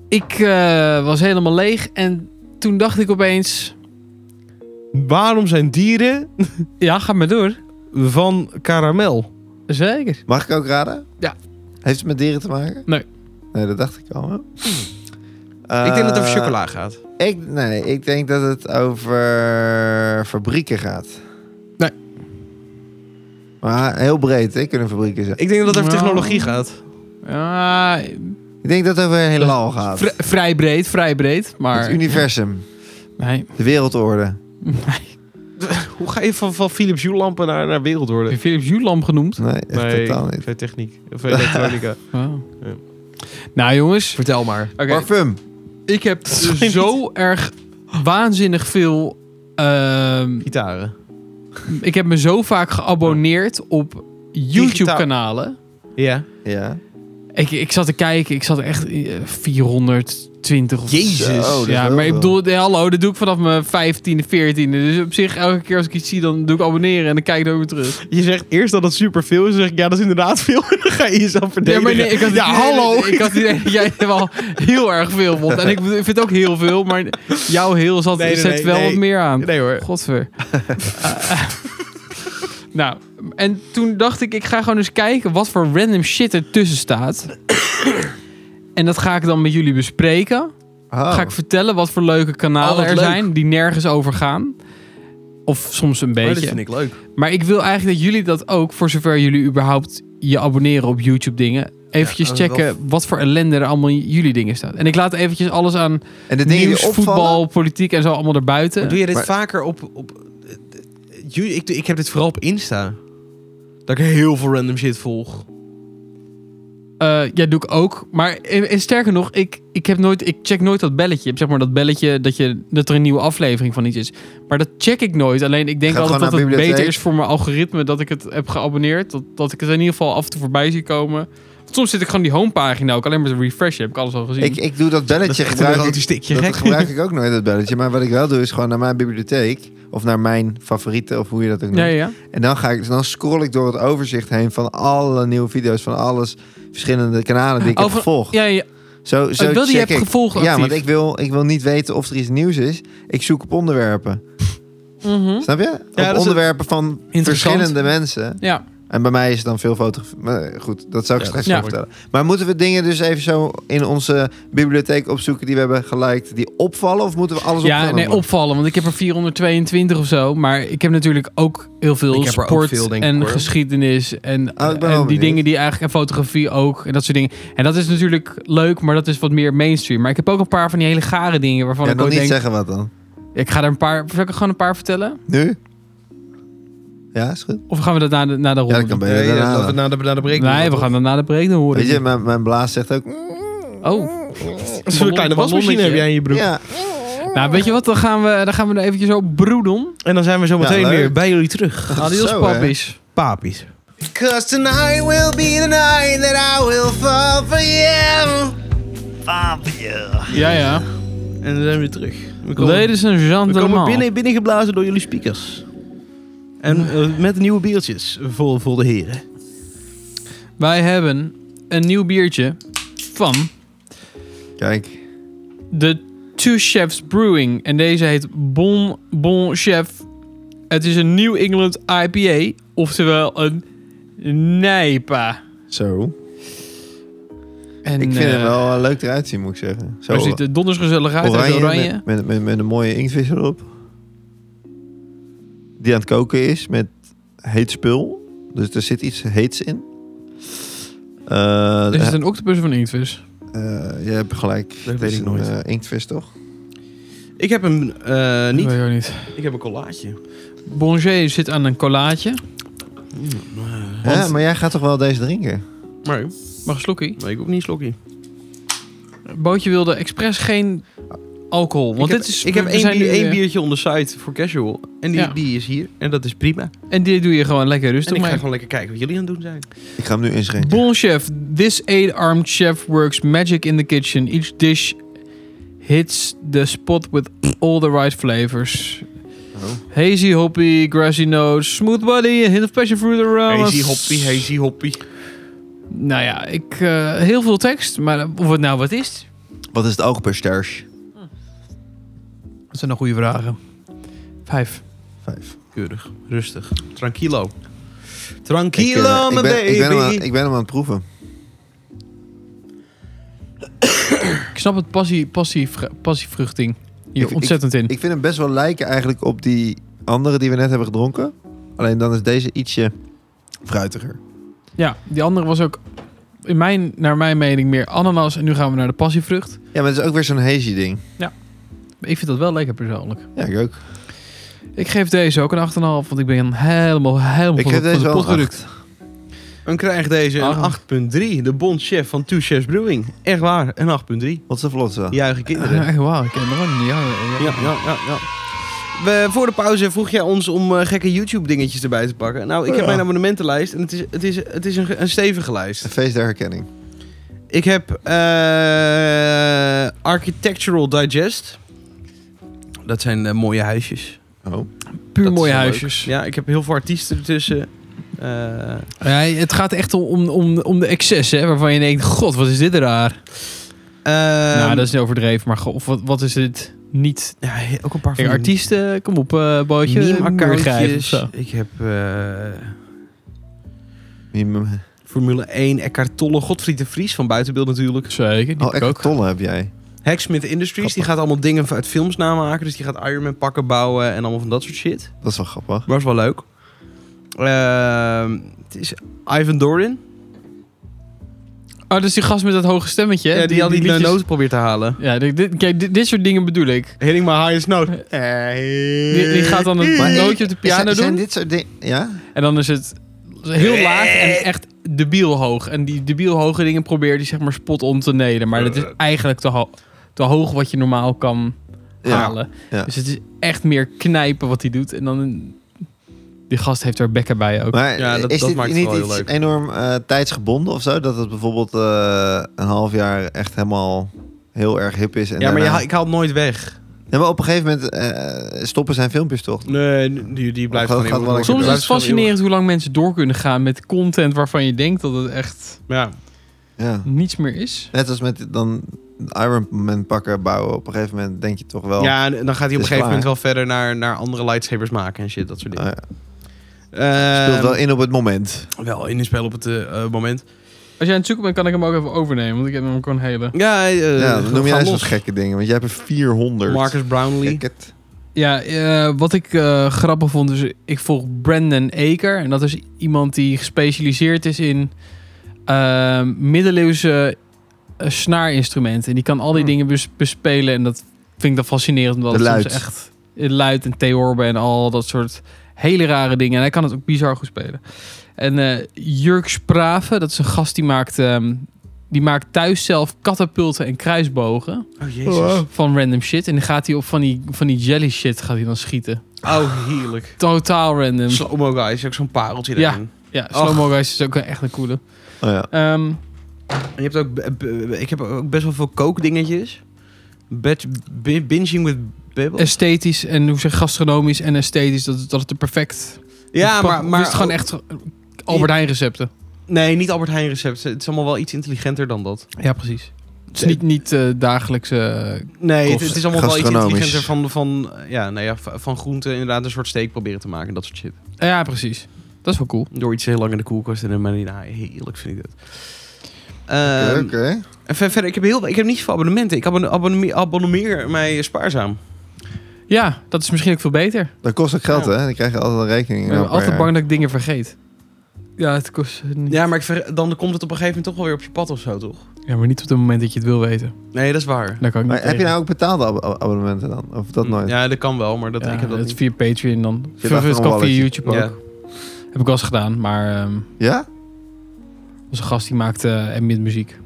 [SPEAKER 2] Ik eh, was helemaal leeg en toen dacht ik opeens...
[SPEAKER 1] Waarom zijn dieren
[SPEAKER 2] Ja, ga maar door.
[SPEAKER 1] van karamel?
[SPEAKER 2] Zeker.
[SPEAKER 3] Mag ik ook raden?
[SPEAKER 2] Ja.
[SPEAKER 3] Heeft het met dieren te maken?
[SPEAKER 2] Nee.
[SPEAKER 3] Nee, dat dacht ik al. hè.
[SPEAKER 1] ik denk dat het
[SPEAKER 3] Eh,
[SPEAKER 1] over chocola gaat.
[SPEAKER 3] Ik, nee, ik denk dat het over fabrieken gaat.
[SPEAKER 2] Nee.
[SPEAKER 3] Maar heel breed, hè, kunnen fabrieken zijn.
[SPEAKER 1] Ik denk dat het over
[SPEAKER 2] Nou.
[SPEAKER 1] technologie gaat.
[SPEAKER 2] Ja,
[SPEAKER 3] Ik denk dat het over heelal gaat.
[SPEAKER 2] vri- vrij breed, vrij breed. Maar...
[SPEAKER 3] Het universum,
[SPEAKER 2] Nee.
[SPEAKER 3] de wereldorde.
[SPEAKER 1] Hoe ga je van, van Philips Hue lampen naar, naar wereld
[SPEAKER 2] Heb
[SPEAKER 1] worden?
[SPEAKER 2] je Philips Hue lamp genoemd?
[SPEAKER 3] Nee, echt
[SPEAKER 1] Nee,
[SPEAKER 3] totaal niet.
[SPEAKER 1] bij techniek. Of elektronica. Ja.
[SPEAKER 2] Nou jongens,
[SPEAKER 1] Vertel maar.
[SPEAKER 2] oké.
[SPEAKER 3] Parfum.
[SPEAKER 2] ik heb
[SPEAKER 1] is geen
[SPEAKER 2] zo erg waanzinnig veel... ehm,
[SPEAKER 1] Gitaren.
[SPEAKER 2] ik heb me zo vaak geabonneerd op YouTube-kanalen.
[SPEAKER 1] Ja.
[SPEAKER 3] Ja.
[SPEAKER 2] Ik, ik zat te kijken, ik zat echt eh, 420 of
[SPEAKER 1] Jezus.
[SPEAKER 3] Zo, Oh, dat is
[SPEAKER 2] ja,
[SPEAKER 3] heel
[SPEAKER 2] maar ik
[SPEAKER 3] veel.
[SPEAKER 2] bedoel, nee, hallo, dat doe ik vanaf mijn 15e, 14e. Dus op zich, elke keer als ik iets zie, dan doe ik abonneren en dan kijk ik er ook weer terug.
[SPEAKER 1] Je zegt eerst dat het superveel is. Dan zeg ik, ja, dat is inderdaad veel. En dan ga je jezelf verdedigen.
[SPEAKER 2] maar ik had het
[SPEAKER 1] ja,
[SPEAKER 2] idee dat-
[SPEAKER 1] hallo.
[SPEAKER 2] Ik had het idee dat jij het wel heel erg veel vond. En ik bedoel, ik vind het ook heel veel, maar jouw heel zat,
[SPEAKER 1] Nee, nee,
[SPEAKER 2] zet
[SPEAKER 1] nee,
[SPEAKER 2] wel
[SPEAKER 1] nee.
[SPEAKER 2] wat meer aan.
[SPEAKER 1] Nee hoor.
[SPEAKER 2] Godver. Eh, nou, en toen dacht ik, ik ga gewoon eens kijken wat voor random shit er tussen staat. en dat ga ik dan met jullie bespreken.
[SPEAKER 3] Oh.
[SPEAKER 2] Ga ik vertellen wat voor leuke
[SPEAKER 1] Oh,
[SPEAKER 2] kanalen
[SPEAKER 1] wat
[SPEAKER 2] er
[SPEAKER 1] leuk.
[SPEAKER 2] zijn die nergens over gaan. Of soms
[SPEAKER 3] Oh,
[SPEAKER 2] een beetje.
[SPEAKER 1] ik leuk.
[SPEAKER 2] Maar ik wil eigenlijk dat jullie dat ook, voor zover jullie überhaupt je abonneren op YouTube dingen. Eventjes
[SPEAKER 3] dat is wel
[SPEAKER 2] checken wat voor ellende er allemaal in jullie dingen staat. En ik laat eventjes alles aan
[SPEAKER 3] En de dingen
[SPEAKER 2] nieuws,
[SPEAKER 3] die opvallen...
[SPEAKER 2] voetbal, politiek en zo allemaal
[SPEAKER 1] Eh, Maar
[SPEAKER 2] erbuiten.
[SPEAKER 1] doe je dit
[SPEAKER 3] Maar-
[SPEAKER 1] vaker op... op eh, eh, ju- ik, ik heb dit vooral op Insta. Dat ik heel veel random shit volg.
[SPEAKER 2] Eh, ja, doe ik ook. Maar en, en sterker nog, ik, ik, heb nooit, ik check nooit dat belletje. Zeg maar dat belletje dat, je, dat er een nieuwe aflevering van iets is. Maar dat check ik nooit. Alleen ik denk
[SPEAKER 3] Gaat
[SPEAKER 2] altijd
[SPEAKER 3] gewoon
[SPEAKER 2] dat
[SPEAKER 3] naar
[SPEAKER 2] het beter
[SPEAKER 3] bibliotheek.
[SPEAKER 2] is voor mijn algoritme dat ik het heb geabonneerd. Dat, dat ik het in ieder geval af en toe voorbij zie komen. Soms zit ik gewoon die homepagina ook alleen maar te refreshen. Heb ik alles al gezien.
[SPEAKER 3] Ik, ik doe dat
[SPEAKER 1] Dat is
[SPEAKER 3] belletje
[SPEAKER 1] echt een
[SPEAKER 3] gebruik ik-
[SPEAKER 1] erotisch tikje,
[SPEAKER 3] Dat
[SPEAKER 1] gek.
[SPEAKER 3] gebruik ik ook nooit, dat belletje. Maar wat ik wel doe, is gewoon naar mijn bibliotheek. Of naar mijn favorieten, of hoe je dat ook noemt.
[SPEAKER 2] ja, ja, ja.
[SPEAKER 3] En dan, ga ik, dan scroll ik door het overzicht heen van alle nieuwe video's. Van alles, verschillende kanalen die ik
[SPEAKER 2] Oh,
[SPEAKER 3] heb
[SPEAKER 2] van-
[SPEAKER 3] gevolgd.
[SPEAKER 2] ja, ja.
[SPEAKER 3] Zo, zo
[SPEAKER 2] Oh, wel die
[SPEAKER 3] check
[SPEAKER 2] heb
[SPEAKER 3] ik.
[SPEAKER 2] gevolgd
[SPEAKER 3] Ja,
[SPEAKER 2] actief.
[SPEAKER 3] want ik wil, ik wil niet weten of er iets nieuws is. Ik zoek op onderwerpen.
[SPEAKER 2] Mhm.
[SPEAKER 3] Snap je?
[SPEAKER 1] dat is
[SPEAKER 3] op
[SPEAKER 1] het-
[SPEAKER 3] onderwerpen van
[SPEAKER 2] Interessant.
[SPEAKER 3] verschillende mensen.
[SPEAKER 2] ja.
[SPEAKER 3] En bij mij is het dan veel fotografie. Maar goed, dat zou ik
[SPEAKER 1] Ja,
[SPEAKER 3] straks
[SPEAKER 2] dat
[SPEAKER 3] wel vertellen. Maar moeten we dingen dus even zo in onze bibliotheek opzoeken die we hebben geliked, die opvallen? Of moeten we alles
[SPEAKER 2] ja,
[SPEAKER 3] opvallen?
[SPEAKER 2] nee, opvallen. Want ik heb er 422 of zo. Maar ik heb natuurlijk ook heel veel
[SPEAKER 1] Ik heb er ook
[SPEAKER 2] sport
[SPEAKER 1] veel, denk ik,
[SPEAKER 2] en
[SPEAKER 1] hoor.
[SPEAKER 2] geschiedenis. En,
[SPEAKER 3] Ah, ben wel
[SPEAKER 2] en die
[SPEAKER 3] benieuwd.
[SPEAKER 2] dingen die eigenlijk... En fotografie ook. En dat soort dingen. En dat is natuurlijk leuk, maar dat is wat meer mainstream. Maar ik heb ook een paar van die hele gare dingen waarvan
[SPEAKER 3] Ja,
[SPEAKER 2] ik
[SPEAKER 3] dan
[SPEAKER 2] ook
[SPEAKER 3] niet
[SPEAKER 2] denk...
[SPEAKER 3] zeggen wat dan.
[SPEAKER 2] Ik ga er een paar... Zal ik er gewoon een paar vertellen?
[SPEAKER 3] Nu? Ja, is goed.
[SPEAKER 2] Of gaan we dat na de, na de ronde
[SPEAKER 3] Ja, dat kan
[SPEAKER 2] doen?
[SPEAKER 3] beter. daarna
[SPEAKER 1] dat we
[SPEAKER 3] dan.
[SPEAKER 1] na de, na de break doen,
[SPEAKER 2] Nee, we
[SPEAKER 1] toch?
[SPEAKER 2] gaan dat na de break dan horen.
[SPEAKER 3] Weet je, mijn, mijn blaas zegt ook... mm,
[SPEAKER 2] Oh.
[SPEAKER 1] Zo'n kleine wasmachine heb jij in je broek.
[SPEAKER 3] Ja,
[SPEAKER 2] Nou, weet je wat? Dan gaan we, dan gaan we er eventjes op broeden.
[SPEAKER 1] En dan zijn we zo meteen
[SPEAKER 3] Ja, leuk.
[SPEAKER 1] weer bij jullie terug.
[SPEAKER 2] Adios,
[SPEAKER 3] hè.
[SPEAKER 2] pappies.
[SPEAKER 1] Papies.
[SPEAKER 4] Cause tonight will be the night that I will fall for you.
[SPEAKER 2] Ja, ja.
[SPEAKER 1] En dan zijn we weer terug. We komen,
[SPEAKER 2] Ladies and
[SPEAKER 1] we
[SPEAKER 2] gentlemen.
[SPEAKER 1] komen binnen, binnengeblazen door jullie speakers. En eh, met nieuwe biertjes voor, voor de heren.
[SPEAKER 2] Wij hebben een nieuw biertje van
[SPEAKER 3] kijk.
[SPEAKER 2] de Two Chefs Brewing. En deze heet Bon Bon Chef. Het is een New England IPA, oftewel een Nijpa.
[SPEAKER 3] Zo.
[SPEAKER 2] En,
[SPEAKER 3] Ik vind
[SPEAKER 2] eh,
[SPEAKER 3] hem wel eh, leuk eruit zien, moet ik zeggen. Zo,
[SPEAKER 2] Hij ziet er donders gezellig uit. Oranje. oranje.
[SPEAKER 3] Met, met, met, met een mooie inktvis erop. Die aan het koken is met heet spul. Dus er zit iets heets in. Eh,
[SPEAKER 2] Dus Is het een octopus of een inktvis?
[SPEAKER 3] eh, je hebt gelijk.
[SPEAKER 1] weet
[SPEAKER 3] Dit is
[SPEAKER 1] ik
[SPEAKER 3] een,
[SPEAKER 1] nooit.
[SPEAKER 3] eh, inktvis, toch?
[SPEAKER 1] Ik heb hem eh, niet.
[SPEAKER 2] Weet ik ook niet.
[SPEAKER 1] Ik heb een collaatje.
[SPEAKER 2] Bonjé zit aan een collaatje.
[SPEAKER 3] Ja, maar jij gaat toch wel deze drinken?
[SPEAKER 1] Maar
[SPEAKER 2] Mag een slokkie?
[SPEAKER 1] nee, ik ook niet slokkie.
[SPEAKER 2] Bootje wilde expres geen alcohol. Want
[SPEAKER 1] ik
[SPEAKER 2] dit
[SPEAKER 1] heb,
[SPEAKER 2] is,
[SPEAKER 1] ik heb
[SPEAKER 2] we
[SPEAKER 1] één,
[SPEAKER 2] zijn
[SPEAKER 1] bier-
[SPEAKER 2] nu,
[SPEAKER 1] één
[SPEAKER 2] eh,
[SPEAKER 1] biertje on the side voor casual. En die,
[SPEAKER 2] Ja.
[SPEAKER 1] die is hier. En dat is prima.
[SPEAKER 2] En dit doe je gewoon lekker
[SPEAKER 1] En
[SPEAKER 2] rustig
[SPEAKER 1] ik ga
[SPEAKER 2] mee.
[SPEAKER 1] gewoon lekker kijken wat jullie aan het doen zijn.
[SPEAKER 3] Ik ga hem nu inschenken.
[SPEAKER 2] Bon Chef. This eight-armed chef works magic in the kitchen. Each dish hits the spot with all the right flavors.
[SPEAKER 3] Oh.
[SPEAKER 2] Hazy, hoppy, grassy notes, smooth body, a hint of passion fruit aroma.
[SPEAKER 1] Hazy hoppie, hazy hoppie.
[SPEAKER 2] Nou ja, ik, eh, heel veel tekst, maar of het nou wat is?
[SPEAKER 3] Wat is het oogpersterge?
[SPEAKER 2] Dat zijn nog goede vragen. Vijf.
[SPEAKER 3] Vijf. eh,
[SPEAKER 1] Keurig, rustig, tranquilo.
[SPEAKER 3] Ik, eh,
[SPEAKER 1] Tranquilo,
[SPEAKER 3] ik,
[SPEAKER 1] mijn
[SPEAKER 3] ben,
[SPEAKER 1] baby.
[SPEAKER 3] ik, ben hem aan, ik ben hem aan het proeven.
[SPEAKER 2] Ik snap het passie, passie, passievruchting hier
[SPEAKER 3] Ik- ik-
[SPEAKER 2] ontzettend in.
[SPEAKER 3] Ik vind hem best wel lijken eigenlijk op die andere die we net hebben gedronken. Alleen dan is deze ietsje fruitiger.
[SPEAKER 2] Ja, die andere was ook in mijn, naar mijn mening meer ananas. En nu gaan we naar de passievrucht.
[SPEAKER 3] Ja, maar het is ook weer zo'n hazy ding.
[SPEAKER 2] Ik vind dat wel lekker persoonlijk.
[SPEAKER 3] Ja, ik ook.
[SPEAKER 2] Ik geef deze ook een 8,5, want ik ben helemaal, helemaal
[SPEAKER 3] Ik
[SPEAKER 2] van,
[SPEAKER 3] heb
[SPEAKER 2] de- van
[SPEAKER 3] deze
[SPEAKER 2] de
[SPEAKER 3] wel
[SPEAKER 2] pot
[SPEAKER 3] een
[SPEAKER 2] gerukt.
[SPEAKER 3] acht.
[SPEAKER 1] Dan krijgt deze
[SPEAKER 2] Ah.
[SPEAKER 1] een 8.3. De bondchef van Two Chefs Brewing. Echt waar, een 8.3.
[SPEAKER 3] Wat is de vlotse?
[SPEAKER 1] Juichen kinderen.
[SPEAKER 2] Ah, echt waar, ik ken er gewoon niet. Ja, ja, ja.
[SPEAKER 1] Ja, ja, ja, ja. We, voor de pauze vroeg jij ons om eh, gekke YouTube-dingetjes erbij te pakken. Nou, ik heb
[SPEAKER 3] Ja.
[SPEAKER 1] mijn abonnementenlijst en het is, het is, het is een, ge- een stevige lijst.
[SPEAKER 3] Een feest der herkenning.
[SPEAKER 1] Ik heb eh, Architectural Digest. Dat zijn eh, mooie huisjes.
[SPEAKER 3] Oh.
[SPEAKER 2] Puur
[SPEAKER 3] Dat
[SPEAKER 2] mooie
[SPEAKER 3] is wel leuk.
[SPEAKER 2] huisjes.
[SPEAKER 1] Ja, ik heb heel veel artiesten ertussen. Eh,
[SPEAKER 2] Ja, het gaat echt om, om, om de excess, hè, waarvan je denkt, god, wat is dit raar? nou,
[SPEAKER 1] ehm,
[SPEAKER 2] dat is niet overdreven, maar goh, of wat, wat is dit niet?
[SPEAKER 1] ja, he- ook een paar van
[SPEAKER 2] Kijk,
[SPEAKER 1] die
[SPEAKER 2] artiesten, kom op, eh bootje. muurgrijpen of
[SPEAKER 1] meme-accountjes.
[SPEAKER 2] zo.
[SPEAKER 1] Ik heb eh,
[SPEAKER 3] Meme-
[SPEAKER 1] Formule 1, Eckhart Tolle, Godfried de Vries van Buitenbeeld natuurlijk.
[SPEAKER 2] Zeker, die
[SPEAKER 3] Oh,
[SPEAKER 2] heb ik ook.
[SPEAKER 3] echt tolle heb jij.
[SPEAKER 1] Hacksmith Industries, die gaat allemaal dingen uit films namaken. Dus die gaat Iron Man pakken bouwen en allemaal van dat soort shit.
[SPEAKER 3] Dat is wel grappig.
[SPEAKER 1] Was wel leuk. Ehm, het is Ivan Dorin.
[SPEAKER 2] Oh, dus die gast met dat hoge stemmetje. hè,
[SPEAKER 1] Ja, die, al die,
[SPEAKER 2] liedjes-
[SPEAKER 1] noten probeert te halen.
[SPEAKER 2] Ja, dit, dit- kijk, dit, dit soort dingen bedoel ik.
[SPEAKER 1] Hitting my highest note. Eh,
[SPEAKER 2] Die, die gaat dan
[SPEAKER 3] Maar-
[SPEAKER 2] een nootje op de
[SPEAKER 3] Is-
[SPEAKER 2] piano
[SPEAKER 3] zijn,
[SPEAKER 2] doen.
[SPEAKER 3] dit soort dingen... Ja?
[SPEAKER 2] En dan is het heel laag en echt debiel hoog. En die debiel hoge dingen probeer die zeg maar spot on te neden. Maar
[SPEAKER 3] Eh.
[SPEAKER 2] dat is eigenlijk te, ho- te hoog wat je normaal kan
[SPEAKER 3] Ja.
[SPEAKER 1] Ah,
[SPEAKER 2] halen.
[SPEAKER 3] Ja.
[SPEAKER 2] Dus het is echt meer knijpen wat hij doet. En dan... een- Die gast heeft er bekken bij ook.
[SPEAKER 3] Maar
[SPEAKER 1] Ja, dat-
[SPEAKER 3] is
[SPEAKER 1] dat
[SPEAKER 3] dit
[SPEAKER 1] maakt het
[SPEAKER 3] niet
[SPEAKER 1] wel heel
[SPEAKER 3] iets
[SPEAKER 1] leuk.
[SPEAKER 3] enorm eh, tijdsgebonden of zo? Dat het bijvoorbeeld eh, een half jaar echt helemaal heel erg hip is. En
[SPEAKER 1] Ja, maar je
[SPEAKER 3] daarna-
[SPEAKER 1] haal- ik haal het nooit weg.
[SPEAKER 3] Ja, maar op een gegeven moment eh, stoppen zijn filmpjes toch?
[SPEAKER 1] Nee, die, die blijft
[SPEAKER 3] Dat
[SPEAKER 1] gewoon
[SPEAKER 3] gaat
[SPEAKER 1] eeuwig
[SPEAKER 3] wel
[SPEAKER 1] door.
[SPEAKER 2] Soms
[SPEAKER 3] lekker
[SPEAKER 2] is
[SPEAKER 3] door.
[SPEAKER 2] het
[SPEAKER 1] Blijft gewoon
[SPEAKER 2] fascinerend hoe lang mensen door kunnen gaan met content waarvan je denkt dat het echt
[SPEAKER 1] eeuwig. Ja.
[SPEAKER 3] Ja.
[SPEAKER 2] niets meer is.
[SPEAKER 3] Net als met dan Iron Man pakken, bouwen. Op een gegeven moment denk je toch wel...
[SPEAKER 1] ja, en dan gaat hij op een
[SPEAKER 3] Het Oh. is
[SPEAKER 1] gegeven moment
[SPEAKER 3] klaar.
[SPEAKER 1] wel verder naar, naar andere lightsabers maken en shit, dat soort
[SPEAKER 3] eh,
[SPEAKER 1] dingen.
[SPEAKER 3] het speelt
[SPEAKER 1] Ehm,
[SPEAKER 3] wel in op het moment.
[SPEAKER 1] wel in een spel op het eh, eh, moment.
[SPEAKER 2] Als jij aan het zoeken bent, kan ik hem ook even overnemen. Want ik heb hem gewoon hele...
[SPEAKER 1] Ja, eh,
[SPEAKER 3] ja, dan noem
[SPEAKER 1] ga
[SPEAKER 3] jij eens wat
[SPEAKER 1] los.
[SPEAKER 3] gekke dingen. Want jij hebt er 400.
[SPEAKER 1] Marcus Brownlee.
[SPEAKER 3] Kijk het.
[SPEAKER 2] Ja, eh, wat ik eh, grappig vond, dus ik volg Brandon Aker. En dat is iemand die gespecialiseerd is in eh, middeleeuwse eh, snaarinstrumenten. En die kan al die
[SPEAKER 1] Hmm.
[SPEAKER 2] dingen bes- bespelen. En dat vind ik dan fascinerend, omdat
[SPEAKER 3] Hm. De
[SPEAKER 2] het
[SPEAKER 3] luid.
[SPEAKER 2] soms echt eh, luid en theorben en al dat soort hele rare dingen. En hij kan het ook bizar goed spelen. En eh Jurk Sprave, dat is een gast die maakt, ehm, die maakt thuis zelf katapulten en kruisbogen
[SPEAKER 1] Oh, jezus.
[SPEAKER 2] van random shit. En dan gaat hij op van die, van die jelly shit gaat hij dan schieten.
[SPEAKER 1] Oh, heerlijk.
[SPEAKER 2] Totaal random.
[SPEAKER 1] Slow-mo guys, ook zo'n pareltje
[SPEAKER 2] Ehm. Ja.
[SPEAKER 1] erin.
[SPEAKER 2] ja,
[SPEAKER 1] Och.
[SPEAKER 2] Slow Mo Guys is ook echt een coole.
[SPEAKER 3] Oh ja.
[SPEAKER 2] Ehm,
[SPEAKER 1] En je hebt ook, b- b- ik heb ook best wel veel kookdingetjes. Bed, bi- binging with Babel.
[SPEAKER 2] esthetisch en hoe zeg je, gastronomisch en esthetisch, dat, dat het er perfect...
[SPEAKER 1] ja,
[SPEAKER 2] pa-
[SPEAKER 1] maar, maar
[SPEAKER 2] is het gewoon echt Albert Heijn recepten.
[SPEAKER 1] Nee, niet Albert Heijn recepten. Het is allemaal wel iets intelligenter dan dat.
[SPEAKER 2] Ja, precies. Het is niet, niet eh, dagelijkse...
[SPEAKER 1] Nee, het,
[SPEAKER 2] Kost-
[SPEAKER 1] het is allemaal wel iets
[SPEAKER 3] gastronomisch.
[SPEAKER 1] intelligenter van, van, ja, nou ja, v- van groenten inderdaad een soort steak proberen te maken. Dat soort shit.
[SPEAKER 2] eh, ja, precies. Dat is wel cool.
[SPEAKER 1] Door iets heel lang in de koelkast en dan maar nou, heerlijk vind ik dat.
[SPEAKER 3] Oké,
[SPEAKER 1] Ehm,
[SPEAKER 3] oké.
[SPEAKER 1] en ver- verder, ik heb, heel, ik heb niet zoveel abonnementen. Ik abonne- abonne- abonneer mij spaarzaam.
[SPEAKER 2] Ja, dat is misschien ook veel beter.
[SPEAKER 3] Dat kost ook geld,
[SPEAKER 1] Ja.
[SPEAKER 3] hè? Dan krijg je altijd een rekening.
[SPEAKER 2] Ik ben
[SPEAKER 3] elk
[SPEAKER 2] altijd
[SPEAKER 3] jaar.
[SPEAKER 2] bang dat ik dingen vergeet. Ja, het kost niet... Ja.
[SPEAKER 1] Ja, maar ik ver- dan komt het op een gegeven moment toch wel weer op je pad of zo, toch?
[SPEAKER 2] maar niet op het moment dat je het wil weten.
[SPEAKER 1] Nee, dat is waar.
[SPEAKER 2] Daar kan ik niet
[SPEAKER 3] Maar heb je
[SPEAKER 2] tegen.
[SPEAKER 3] nou ook betaalde ab- ab- abonnementen dan? Of
[SPEAKER 2] Mm,
[SPEAKER 3] dat nooit?
[SPEAKER 1] Ja, dat kan wel, maar dat,
[SPEAKER 2] Ja,
[SPEAKER 1] ik heb dat
[SPEAKER 2] het
[SPEAKER 1] niet.
[SPEAKER 2] via Patreon dan.
[SPEAKER 3] Zit achter
[SPEAKER 2] Het
[SPEAKER 3] een
[SPEAKER 2] kan via
[SPEAKER 3] walletje.
[SPEAKER 2] YouTube ook.
[SPEAKER 1] Ja.
[SPEAKER 2] Heb ik wel eens gedaan, maar ehm
[SPEAKER 3] Ja?
[SPEAKER 2] was een gast die maakte eh, ambient muziek.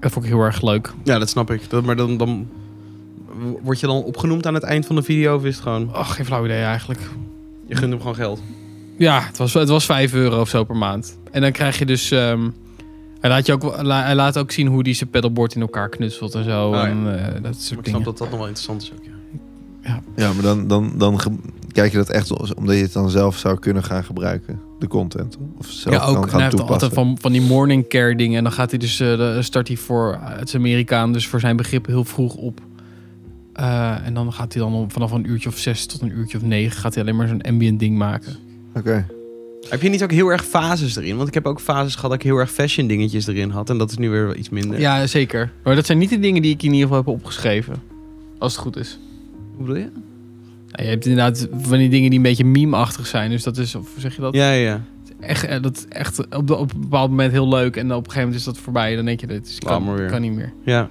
[SPEAKER 2] Dat vond ik heel erg leuk.
[SPEAKER 1] Ja, dat snap ik. Dat, maar dan, dan word je dan opgenoemd aan het eind van de video of is het gewoon...
[SPEAKER 2] Ach, geen flauw idee eigenlijk.
[SPEAKER 1] Je gunt hem gewoon geld.
[SPEAKER 2] Ja, het was, het was 5 euro of zo per maand. En dan krijg je dus... ehm, hij, laat je ook, wel- la- hij laat ook zien hoe hij zijn pedalboard in elkaar knutselt en zo.
[SPEAKER 1] Oh ja.
[SPEAKER 2] en, eh, dat soort
[SPEAKER 1] Maar ik
[SPEAKER 2] dingen.
[SPEAKER 1] snap dat dat nog wel interessant is ook, ja.
[SPEAKER 3] Ja, maar dan, dan, dan ge- kijk je dat echt als- omdat je het dan zelf zou kunnen gaan gebruiken. De content. Of zelf
[SPEAKER 2] ja, ook.
[SPEAKER 3] kan
[SPEAKER 2] En hij
[SPEAKER 3] gaan
[SPEAKER 2] heeft
[SPEAKER 3] toepassen.
[SPEAKER 2] altijd van, van die morning care dingen. En dan gaat hij dus, eh, de- start hij voor, eh, het is Amerikaan, dus voor zijn begrip heel vroeg op. Eh, en dan gaat hij dan om, vanaf een uurtje of zes tot een uurtje of negen gaat hij alleen maar zo'n ambient ding maken.
[SPEAKER 3] Oké.
[SPEAKER 1] Heb je niet ook heel erg fases erin? Want ik heb ook fases gehad dat ik heel erg fashion dingetjes erin had. En dat is nu weer iets minder.
[SPEAKER 2] Ja, zeker. Maar dat zijn niet de dingen die ik in ieder geval heb opgeschreven. Als het goed is.
[SPEAKER 1] Hoe bedoel je?
[SPEAKER 2] Ja, je hebt inderdaad van die dingen die een beetje meme-achtig zijn. Dus dat is, of hoe zeg je dat?
[SPEAKER 1] Ja, ja, ja.
[SPEAKER 2] Echt, eh, dat is echt op, de, op een bepaald moment heel leuk. En op een gegeven moment is dat voorbij. Dan denk je, dit is,
[SPEAKER 1] Laat maar
[SPEAKER 2] kan,
[SPEAKER 1] weer.
[SPEAKER 2] kan niet meer.
[SPEAKER 1] Ja,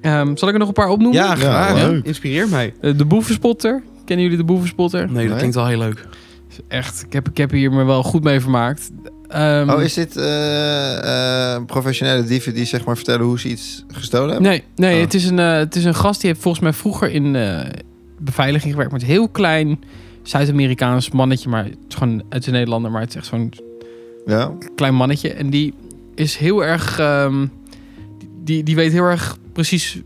[SPEAKER 2] Ehm, zal ik er nog een paar opnoemen?
[SPEAKER 1] ja graag.
[SPEAKER 3] leuk.
[SPEAKER 1] hè? Inspireer mij.
[SPEAKER 2] Eh, De Boevenspotter. Kennen jullie de Boevenspotter?
[SPEAKER 1] Nee, dat
[SPEAKER 3] Nee.
[SPEAKER 1] klinkt wel heel leuk.
[SPEAKER 2] Is Echt, ik heb, ik heb hier me wel goed mee vermaakt. Ehm,
[SPEAKER 3] Oh, is dit eh, eh, professionele dieven die zeg maar vertellen hoe ze iets gestolen hebben?
[SPEAKER 2] Nee, nee
[SPEAKER 3] Oh.
[SPEAKER 2] het, is een, eh, het is een gast die heeft volgens mij vroeger in eh, beveiliging gewerkt. Maar het is een heel klein Zuid-Amerikaans mannetje. Maar het is gewoon uit een Nederlander. Maar het is echt zo'n
[SPEAKER 3] Ja.
[SPEAKER 2] klein mannetje. En die is heel erg. ehm, die, die weet heel erg precies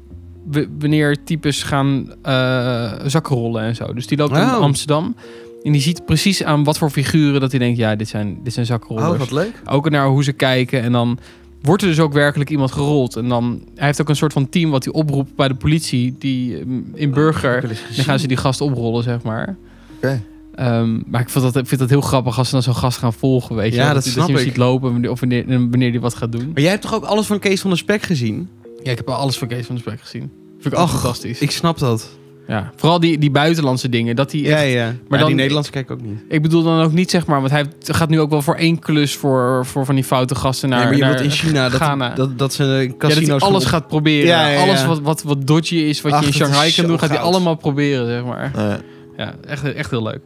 [SPEAKER 2] w- wanneer types gaan eh, zakken rollen en zo. Dus die loopt in
[SPEAKER 1] Oh.
[SPEAKER 2] Amsterdam. En die ziet precies aan wat voor figuren dat hij denkt: ja, dit zijn, dit zijn zakkenrollers.
[SPEAKER 3] Oh, wat leuk.
[SPEAKER 2] Ook naar hoe ze kijken. En dan wordt er dus ook werkelijk iemand gerold. En dan, hij heeft ook een soort van team wat hij oproept bij de politie. Die mm,
[SPEAKER 3] Oh,
[SPEAKER 2] in burger. dan gaan ze die gast oprollen, zeg maar.
[SPEAKER 3] Oké.
[SPEAKER 2] Ehm, maar ik vind, dat, ik vind dat heel grappig als ze dan zo'n gast gaan volgen, weet je.
[SPEAKER 1] Ja,
[SPEAKER 2] wel.
[SPEAKER 1] dat
[SPEAKER 2] je-
[SPEAKER 1] snap
[SPEAKER 2] je hem
[SPEAKER 1] ik.
[SPEAKER 2] ziet lopen en wanneer- of wanneer, en wanneer die wat gaat doen.
[SPEAKER 1] Maar jij hebt toch ook alles van Kees van der Spek gezien?
[SPEAKER 2] Ja, ik heb alles van Kees van de Spek gezien. Vind ik ook
[SPEAKER 1] Och,
[SPEAKER 2] fantastisch.
[SPEAKER 1] Ik snap dat.
[SPEAKER 2] Ja. Vooral die, die buitenlandse dingen. Dat die
[SPEAKER 1] Ja, ja. Maar
[SPEAKER 2] dan-
[SPEAKER 1] die Nederlandse kijk ik ook niet.
[SPEAKER 2] Ik bedoel dan ook niet, zeg maar, want hij gaat nu ook wel voor één klus voor, voor van die foute gasten naar,
[SPEAKER 1] nee, maar je
[SPEAKER 2] naar
[SPEAKER 1] wilt in China
[SPEAKER 2] Ghana.
[SPEAKER 1] dat, dat, dat ze eh,
[SPEAKER 2] Ja, dat
[SPEAKER 1] casino's...
[SPEAKER 2] hij alles gaat proberen.
[SPEAKER 1] Ja, ja, ja.
[SPEAKER 2] Alles wat, wat, wat dodgy is, wat
[SPEAKER 1] Ach,
[SPEAKER 2] je in
[SPEAKER 1] dat is
[SPEAKER 2] Shanghai kan
[SPEAKER 1] zo
[SPEAKER 2] doen, gaat hij
[SPEAKER 1] goud.
[SPEAKER 2] allemaal proberen, zeg maar.
[SPEAKER 3] Eh,
[SPEAKER 2] Ja, echt, echt heel leuk.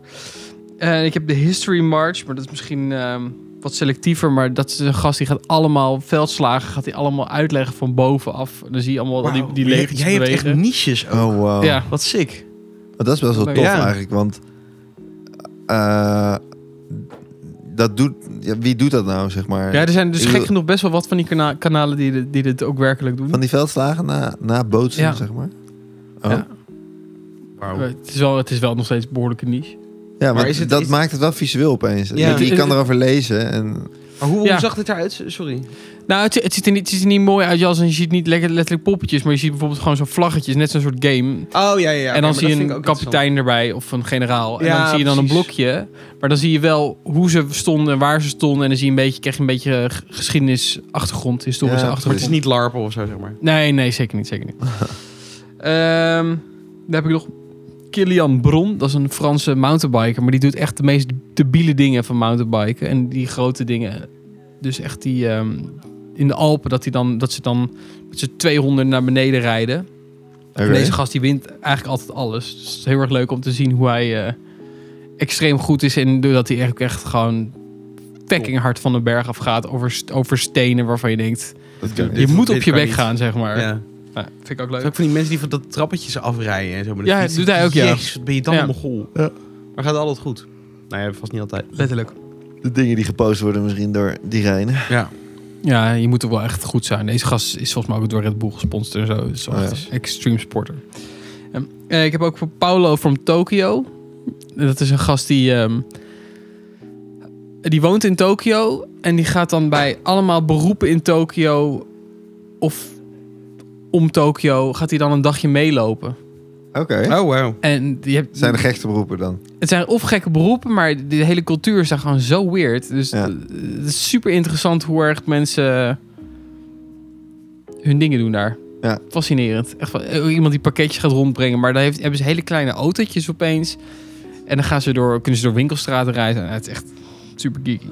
[SPEAKER 2] En ik heb de History March, maar dat is misschien ehm, wat selectiever. Maar dat is een gast die gaat allemaal veldslagen, gaat hij allemaal uitleggen van bovenaf. En Dan zie je allemaal
[SPEAKER 1] Wauw.
[SPEAKER 2] die, die
[SPEAKER 1] Jij-
[SPEAKER 2] legers
[SPEAKER 1] Jij hebt echt
[SPEAKER 2] bewegen.
[SPEAKER 1] niches ook.
[SPEAKER 3] oh, wow.
[SPEAKER 2] Ja,
[SPEAKER 1] Wat sick.
[SPEAKER 3] Maar dat is best wel
[SPEAKER 2] Leuk.
[SPEAKER 3] tof
[SPEAKER 1] Ja.
[SPEAKER 3] eigenlijk, want... eh, dat doet... ja, wie doet dat nou, zeg maar?
[SPEAKER 2] ja, er zijn dus
[SPEAKER 3] Ik
[SPEAKER 2] gek
[SPEAKER 3] bedoel-
[SPEAKER 2] genoeg best wel wat van die kana- kanalen die, dit- die dit ook werkelijk doen.
[SPEAKER 3] Van die veldslagen na, na bootsen,
[SPEAKER 2] Ja.
[SPEAKER 3] zeg maar? Oh.
[SPEAKER 2] Ja.
[SPEAKER 3] Ja,
[SPEAKER 2] Eh, Het, is wel, het is wel nog steeds behoorlijke niche.
[SPEAKER 3] maar,
[SPEAKER 1] Maar is het-
[SPEAKER 3] dat
[SPEAKER 1] is-
[SPEAKER 3] maakt het wel visueel opeens.
[SPEAKER 1] Ja.
[SPEAKER 3] Je, je kan erover lezen en...
[SPEAKER 1] Maar hoe, hoe
[SPEAKER 2] Ja.
[SPEAKER 1] zag dit eruit? Sorry.
[SPEAKER 2] Nou, het, het, ziet er niet, het ziet er niet mooi uit, Jas. En je ziet niet lekker letterlijk poppetjes, maar je ziet bijvoorbeeld gewoon zo'n vlaggetjes. Net zo'n soort game.
[SPEAKER 1] Oh, ja, ja. ja.
[SPEAKER 2] en dan
[SPEAKER 1] Oké, maar dat
[SPEAKER 2] zie je
[SPEAKER 1] vind ik
[SPEAKER 2] een
[SPEAKER 1] ook interessant.
[SPEAKER 2] kapitein erbij of een generaal. En
[SPEAKER 1] Ja,
[SPEAKER 2] dan zie je dan een
[SPEAKER 1] precies.
[SPEAKER 2] blokje. Maar dan zie je wel hoe ze stonden en waar ze stonden. En dan zie je een beetje, krijg je een beetje eh, g- geschiedenis, achtergrond, historische
[SPEAKER 3] Ja,
[SPEAKER 1] Maar het
[SPEAKER 2] achtergrond.
[SPEAKER 1] is niet larpen of zo, zeg maar.
[SPEAKER 2] Nee, nee, zeker niet. Zeker niet. Ehm, dan heb ik nog Kilian Bron. Dat is een Franse mountainbiker. Maar die doet echt de meest debiele dingen van mountainbiken. En die grote dingen. Dus echt die... ehm, in de Alpen, dat, die dan, dat ze dan met z'n 200 naar beneden rijden.
[SPEAKER 3] Oké.
[SPEAKER 2] En deze gast die wint eigenlijk altijd alles. Dus het is heel erg leuk om te zien hoe hij eh, extreem goed is. En doordat hij eigenlijk echt gewoon fucking hard van de berg af gaat. Over, st- over stenen waarvan je denkt...
[SPEAKER 3] Dat kan
[SPEAKER 1] Je
[SPEAKER 3] niet.
[SPEAKER 2] je moet
[SPEAKER 1] dit
[SPEAKER 2] op je
[SPEAKER 1] kan
[SPEAKER 2] bek
[SPEAKER 1] niet.
[SPEAKER 2] gaan, zeg maar.
[SPEAKER 1] Ja.
[SPEAKER 2] Nou, vind ik
[SPEAKER 1] Het
[SPEAKER 2] ook leuk.
[SPEAKER 1] is ook van die mensen die van dat trappetje afrijden en zo. Met de
[SPEAKER 2] Ja,
[SPEAKER 1] fiets.
[SPEAKER 2] doet hij ook, ja.
[SPEAKER 1] Jezus, wat ben je dan
[SPEAKER 2] Ja.
[SPEAKER 1] een mogol.
[SPEAKER 3] Ja.
[SPEAKER 1] Maar gaat altijd goed? Nou ja, vast niet altijd.
[SPEAKER 2] Letterlijk.
[SPEAKER 3] De dingen die gepost worden misschien door die Rijnen.
[SPEAKER 1] Ja.
[SPEAKER 2] Ja, je moet er wel echt goed zijn. Deze gast is volgens mij ook door Red Bull gesponsord en zo. Dus
[SPEAKER 3] Oh, ja.
[SPEAKER 2] echt een extreme sporter. Ehm, eh, ik heb ook voor Paolo from Tokyo. Dat is een gast die... ehm, die woont in Tokyo. En die gaat dan bij allemaal beroepen in Tokyo... of om Tokyo... gaat hij dan een dagje meelopen.
[SPEAKER 3] Oké.
[SPEAKER 1] Oh, wow.
[SPEAKER 2] En die hebt,
[SPEAKER 3] Zijn de gekste beroepen dan?
[SPEAKER 2] het zijn of gekke beroepen, maar de hele cultuur is daar gewoon zo weird. Dus
[SPEAKER 3] Ja.
[SPEAKER 2] eh, het is super interessant hoe erg mensen hun dingen doen daar.
[SPEAKER 3] Ja.
[SPEAKER 2] Fascinerend. Echt, wel- eh, iemand die pakketjes gaat rondbrengen, maar daar heeft, hebben ze hele kleine autootjes opeens. En dan gaan ze door, kunnen ze door winkelstraten rijden. En het is echt super geeky.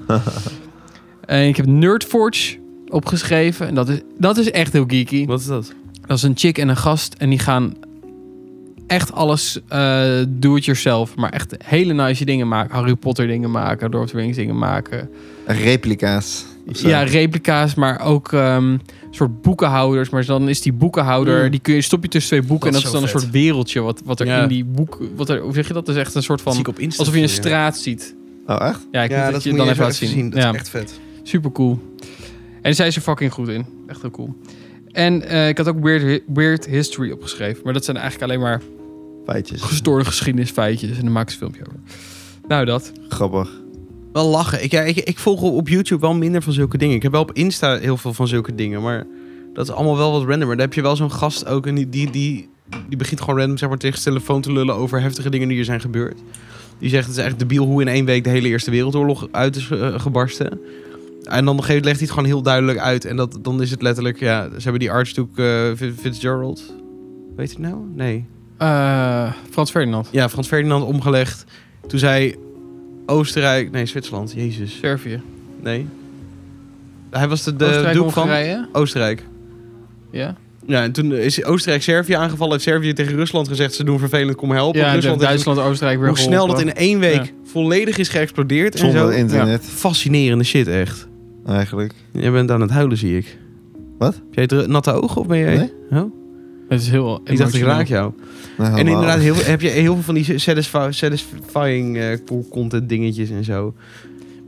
[SPEAKER 2] en ik heb Nerdforge opgeschreven. En dat is, dat is echt heel geeky.
[SPEAKER 1] Wat is dat?
[SPEAKER 2] Dat is een chick en een gast. En die gaan echt alles eh do-it-yourself. Maar echt hele nice dingen maken. Harry Potter dingen maken. Lord of the Rings dingen maken.
[SPEAKER 3] Replica's. of zo.
[SPEAKER 2] Ja, replica's. Maar ook ehm soort boekenhouders. Maar dan is die boekenhouder...
[SPEAKER 1] Mm.
[SPEAKER 2] Die kun je, stop je tussen twee boeken.
[SPEAKER 1] Dat
[SPEAKER 2] en
[SPEAKER 1] is
[SPEAKER 2] dat is dan
[SPEAKER 1] zo
[SPEAKER 2] een
[SPEAKER 1] vet.
[SPEAKER 2] soort wereldje. Wat, wat er
[SPEAKER 1] Ja.
[SPEAKER 2] in die boek... Wat er, hoe zeg je dat? Dat is echt een soort
[SPEAKER 1] Zie
[SPEAKER 2] van...
[SPEAKER 1] ik op Insta
[SPEAKER 2] Alsof je een
[SPEAKER 1] voor
[SPEAKER 2] straat ziet.
[SPEAKER 3] Oh, echt?
[SPEAKER 2] Ja, ik
[SPEAKER 1] Ja,
[SPEAKER 2] moet dat,
[SPEAKER 1] dat
[SPEAKER 2] je
[SPEAKER 1] moet
[SPEAKER 2] dan
[SPEAKER 1] je
[SPEAKER 2] even laat
[SPEAKER 1] even
[SPEAKER 2] zien.
[SPEAKER 1] zien. Dat is
[SPEAKER 2] ja.
[SPEAKER 1] echt vet.
[SPEAKER 2] Super cool. En zij is er fucking goed in. Echt heel cool. En eh, ik had ook weird, weird History opgeschreven. Maar dat zijn eigenlijk alleen maar
[SPEAKER 3] Feitjes.
[SPEAKER 2] gestoorde geschiedenisfeitjes. En dan maak ik een filmpje over. Nou, dat.
[SPEAKER 3] Grappig.
[SPEAKER 1] Wel lachen. Ik, ja, ik, ik volg op YouTube wel minder van zulke dingen. Ik heb wel op Insta heel veel van zulke dingen, maar dat is allemaal wel wat random. Maar daar heb je wel zo'n gast ook en die, die, die, die begint gewoon random zeg maar, tegen zijn telefoon te lullen over heftige dingen die er zijn gebeurd. Die zegt het is echt debiel hoe in één week de hele Eerste Wereldoorlog uit is eh, gebarsten. En dan geeft- legt hij het gewoon heel duidelijk uit. En dat, dan is het letterlijk, ja, ze hebben die Archduke eh, Fitzgerald. Weet je het nou? Nee.
[SPEAKER 2] Eh, Frans Ferdinand.
[SPEAKER 1] Ja, Frans Ferdinand omgelegd. Toen zei Oostenrijk, nee, Zwitserland, jezus.
[SPEAKER 2] Servië.
[SPEAKER 1] Nee. Hij was de, de
[SPEAKER 2] Oostenrijk,
[SPEAKER 1] doek van
[SPEAKER 2] Hongarije.
[SPEAKER 1] Oostenrijk.
[SPEAKER 2] Ja.
[SPEAKER 1] Ja, en toen is Oostenrijk Servië aangevallen. Heeft Servië tegen Rusland gezegd, ze doen vervelend, kom helpen.
[SPEAKER 2] Ja,
[SPEAKER 1] Rusland heeft-
[SPEAKER 2] Duitsland, Oostenrijk weer
[SPEAKER 1] hoe snel dat
[SPEAKER 2] geholpen.
[SPEAKER 1] in één week volledig is geëxplodeerd. en
[SPEAKER 3] Zonder
[SPEAKER 1] zo.
[SPEAKER 3] internet,
[SPEAKER 1] Fascinerende shit, echt.
[SPEAKER 3] eigenlijk.
[SPEAKER 1] Je bent aan het huilen, zie ik.
[SPEAKER 3] Wat?
[SPEAKER 1] Heb jij dru- natte ogen of ben jij...
[SPEAKER 3] Nee?
[SPEAKER 2] Het is heel
[SPEAKER 1] Ik dacht, ik
[SPEAKER 2] emotioneel.
[SPEAKER 1] raak jou.
[SPEAKER 3] Nou,
[SPEAKER 1] En
[SPEAKER 3] helemaal.
[SPEAKER 1] inderdaad, heel, heb je heel veel van die satisfi- satisfying eh, cool content dingetjes en zo.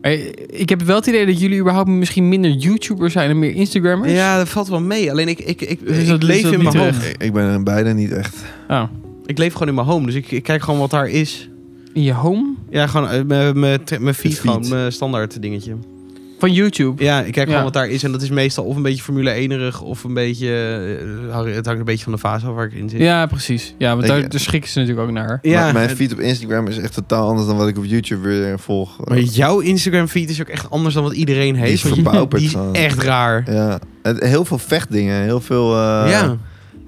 [SPEAKER 2] Maar ik heb wel het idee dat jullie überhaupt misschien minder YouTubers zijn en meer Instagrammers.
[SPEAKER 1] Ja, dat valt wel mee. Alleen ik, ik, ik,
[SPEAKER 2] Is
[SPEAKER 1] ik
[SPEAKER 2] dat- is
[SPEAKER 1] leef
[SPEAKER 2] dat
[SPEAKER 1] in
[SPEAKER 2] niet
[SPEAKER 1] mijn home.
[SPEAKER 2] terecht?
[SPEAKER 3] Ik, ik ben er bijna niet echt.
[SPEAKER 2] Oh.
[SPEAKER 1] Ik leef gewoon in mijn home. Dus ik, ik kijk gewoon wat daar is.
[SPEAKER 2] In je home?
[SPEAKER 1] Ja, gewoon eh, mijn- mijn t- mijn feed,
[SPEAKER 3] feed.
[SPEAKER 1] gewoon mijn standaard dingetje.
[SPEAKER 2] Van YouTube.
[SPEAKER 1] Ja, ik kijk gewoon
[SPEAKER 2] Ja.
[SPEAKER 1] wat daar is. En dat is meestal of een beetje Formule 1-erig of een beetje... eh, hang- het hangt een beetje van de fase af waar ik in zit.
[SPEAKER 2] Ja, precies. Ja, want
[SPEAKER 3] Ik-
[SPEAKER 2] daar, daar schrikken ze natuurlijk ook naar.
[SPEAKER 1] Ja,
[SPEAKER 3] Maar mijn
[SPEAKER 1] het-
[SPEAKER 3] feed op Instagram is echt totaal anders dan wat ik op YouTube weer volg.
[SPEAKER 1] maar jouw Instagram-feed is ook echt anders dan wat iedereen
[SPEAKER 3] Die
[SPEAKER 1] heeft.
[SPEAKER 3] is eh.
[SPEAKER 1] want je-
[SPEAKER 3] verpauperd
[SPEAKER 1] Die
[SPEAKER 3] gewoon.
[SPEAKER 1] is echt raar.
[SPEAKER 3] Ja. En Heel veel vechtdingen, heel veel, eh,
[SPEAKER 1] ja.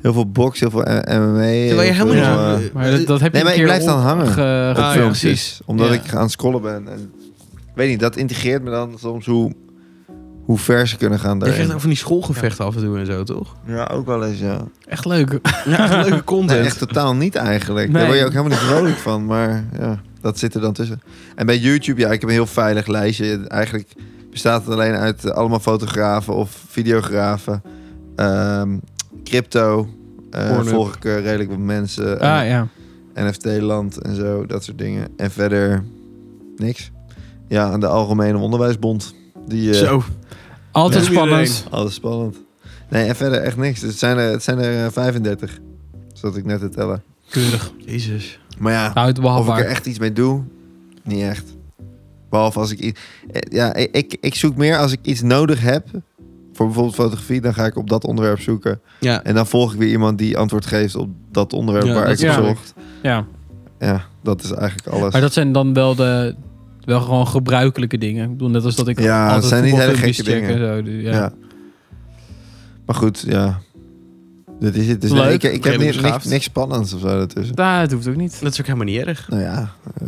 [SPEAKER 3] heel veel box, heel veel MMA. heel
[SPEAKER 1] je helemaal
[SPEAKER 3] veel,
[SPEAKER 1] niet zo-
[SPEAKER 3] eh,
[SPEAKER 2] Maar dat, dat heb
[SPEAKER 3] Nee,
[SPEAKER 2] je
[SPEAKER 3] maar
[SPEAKER 2] een
[SPEAKER 3] ik
[SPEAKER 2] keer
[SPEAKER 3] blijf dan hangen.
[SPEAKER 2] opge-
[SPEAKER 1] Ah, ja,
[SPEAKER 2] gefilmd.
[SPEAKER 3] filmpjes. Omdat
[SPEAKER 1] Ja.
[SPEAKER 3] ik aan het scrollen ben. En, weet niet, dat integreert me dan soms hoe, hoe ver ze kunnen gaan
[SPEAKER 1] Je krijgt
[SPEAKER 3] daarin.
[SPEAKER 1] nou van die schoolgevechten af en toe en zo, toch?
[SPEAKER 3] Ja, ook wel eens, ja.
[SPEAKER 2] Echt leuk.
[SPEAKER 1] Ja, echt leuke
[SPEAKER 3] Nee,
[SPEAKER 1] content.
[SPEAKER 3] echt totaal niet eigenlijk.
[SPEAKER 2] Nee.
[SPEAKER 3] Daar word je ook helemaal niet vrolijk van. Maar ja, dat zit er dan tussen. En bij YouTube, ja, ik heb een heel veilig lijstje. Eigenlijk bestaat het alleen uit eh, allemaal fotografen of videografen. Ehm, crypto. eh,
[SPEAKER 1] Pornhub.
[SPEAKER 3] volg ik eh, redelijk wat mensen.
[SPEAKER 2] Ah ja.
[SPEAKER 3] NFT-land en zo, dat soort dingen. En verder niks. Ja, aan de Algemene Onderwijsbond. Die, eh,
[SPEAKER 1] Zo.
[SPEAKER 2] Altijd
[SPEAKER 1] Ja.
[SPEAKER 2] spannend.
[SPEAKER 3] Alles spannend. Nee, en verder echt niks. Het zijn er, het zijn er eh, 35. Zat ik net te tellen.
[SPEAKER 2] Keurig.
[SPEAKER 1] Jezus.
[SPEAKER 3] Maar ja,
[SPEAKER 2] Nou, het
[SPEAKER 3] of ik
[SPEAKER 2] behapbaar.
[SPEAKER 3] er echt iets mee doe, niet echt. Behalve als ik iets... eh, Ja, ik, ik, ik zoek meer als ik iets nodig heb. Voor bijvoorbeeld fotografie, dan ga ik op dat onderwerp zoeken.
[SPEAKER 1] Ja.
[SPEAKER 3] En dan volg ik weer iemand die antwoord geeft op dat onderwerp
[SPEAKER 1] Ja,
[SPEAKER 3] waar
[SPEAKER 1] dat
[SPEAKER 3] ik
[SPEAKER 2] is
[SPEAKER 3] op
[SPEAKER 2] waar.
[SPEAKER 3] zocht.
[SPEAKER 2] Ja.
[SPEAKER 3] Ja, dat is eigenlijk alles.
[SPEAKER 2] Maar dat zijn dan wel de wel gewoon gebruikelijke dingen. Ik bedoel, net als dat ik
[SPEAKER 3] Ja,
[SPEAKER 2] altijd
[SPEAKER 3] het zijn niet hele
[SPEAKER 2] voetbalfilmpjes
[SPEAKER 3] gekke
[SPEAKER 2] check en zo. Dus ja.
[SPEAKER 3] Ja. Maar goed, ja. Dit is het. Dus
[SPEAKER 2] Leuk.
[SPEAKER 3] nee, ik, ik heb
[SPEAKER 1] Redelijk
[SPEAKER 3] ni- niks,
[SPEAKER 1] beschaafd.
[SPEAKER 3] niks spannends of zo ertussen.
[SPEAKER 2] Nou, het hoeft ook niet.
[SPEAKER 1] Dat is ook helemaal niet erg.
[SPEAKER 3] Nou ja, eh,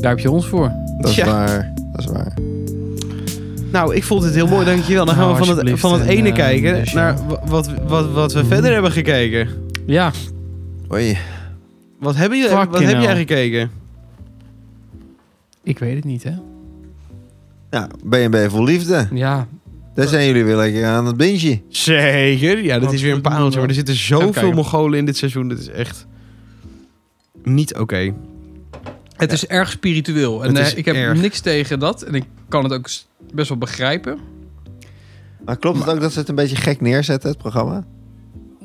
[SPEAKER 2] Daar heb je ons voor.
[SPEAKER 3] dat is
[SPEAKER 1] Ja.
[SPEAKER 3] waar. Dat is waar.
[SPEAKER 1] Nou, ik vond het heel mooi, dankjewel. Dan gaan
[SPEAKER 2] Nou,
[SPEAKER 1] we van het,
[SPEAKER 2] alsjeblieft.
[SPEAKER 1] van het
[SPEAKER 2] En,
[SPEAKER 1] ene
[SPEAKER 2] eh,
[SPEAKER 1] kijken
[SPEAKER 2] dus ja.
[SPEAKER 1] naar wa- wat, wat, wat we verder hebben gekeken.
[SPEAKER 2] Ja.
[SPEAKER 3] Oei.
[SPEAKER 1] Wat, hebben je,
[SPEAKER 2] Fucking
[SPEAKER 1] wat heb jij
[SPEAKER 2] hell.
[SPEAKER 1] gekeken?
[SPEAKER 2] Ik weet het niet, hè?
[SPEAKER 3] Nou, BNB vol liefde.
[SPEAKER 2] Ja.
[SPEAKER 3] Daar zijn jullie weer lekker aan het bintje.
[SPEAKER 1] Zeker. Ja, dit
[SPEAKER 2] Wat
[SPEAKER 1] is weer een pareltje. Maar er zitten
[SPEAKER 2] Even
[SPEAKER 1] zoveel
[SPEAKER 2] kijken.
[SPEAKER 1] Mongolen in dit seizoen. Dat is echt niet oké.
[SPEAKER 2] Het is erg spiritueel. En
[SPEAKER 1] Het
[SPEAKER 2] eh,
[SPEAKER 1] is
[SPEAKER 2] ik heb
[SPEAKER 1] erg.
[SPEAKER 2] niks tegen dat. En ik kan het ook s- best wel begrijpen.
[SPEAKER 3] Maar klopt het ook dat ze het een beetje gek neerzetten, het programma?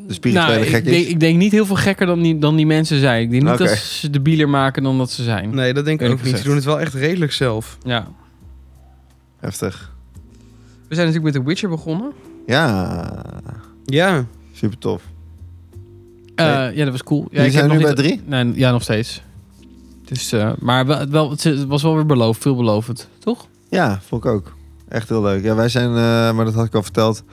[SPEAKER 3] De spirituele
[SPEAKER 2] nou, ik
[SPEAKER 3] gekjes?
[SPEAKER 2] denk, ik denk niet heel veel gekker dan die, dan die mensen zijn. Ik denk niet
[SPEAKER 3] Oké.
[SPEAKER 2] dat ze de bieler maken dan dat ze zijn.
[SPEAKER 1] Nee, dat denk ik
[SPEAKER 2] Eerlijk
[SPEAKER 1] ook niet. Ze
[SPEAKER 2] gezegd.
[SPEAKER 1] doen het wel echt redelijk zelf.
[SPEAKER 2] Ja.
[SPEAKER 3] Heftig.
[SPEAKER 2] We zijn natuurlijk met The Witcher begonnen.
[SPEAKER 3] Ja,
[SPEAKER 1] Ja.
[SPEAKER 3] super tof.
[SPEAKER 2] Eh, ja, dat was cool. Ja,
[SPEAKER 3] Jullie
[SPEAKER 2] ik heb
[SPEAKER 3] zijn
[SPEAKER 2] nog
[SPEAKER 3] nu
[SPEAKER 2] niet-
[SPEAKER 3] bij drie?
[SPEAKER 2] Nee, ja, nog steeds. Dus, eh, maar wel, wel, het het was wel weer beloofd, veelbelovend, toch?
[SPEAKER 3] Ja, vond ik ook. Echt heel leuk. Ja, wij zijn, eh, maar dat had ik al verteld,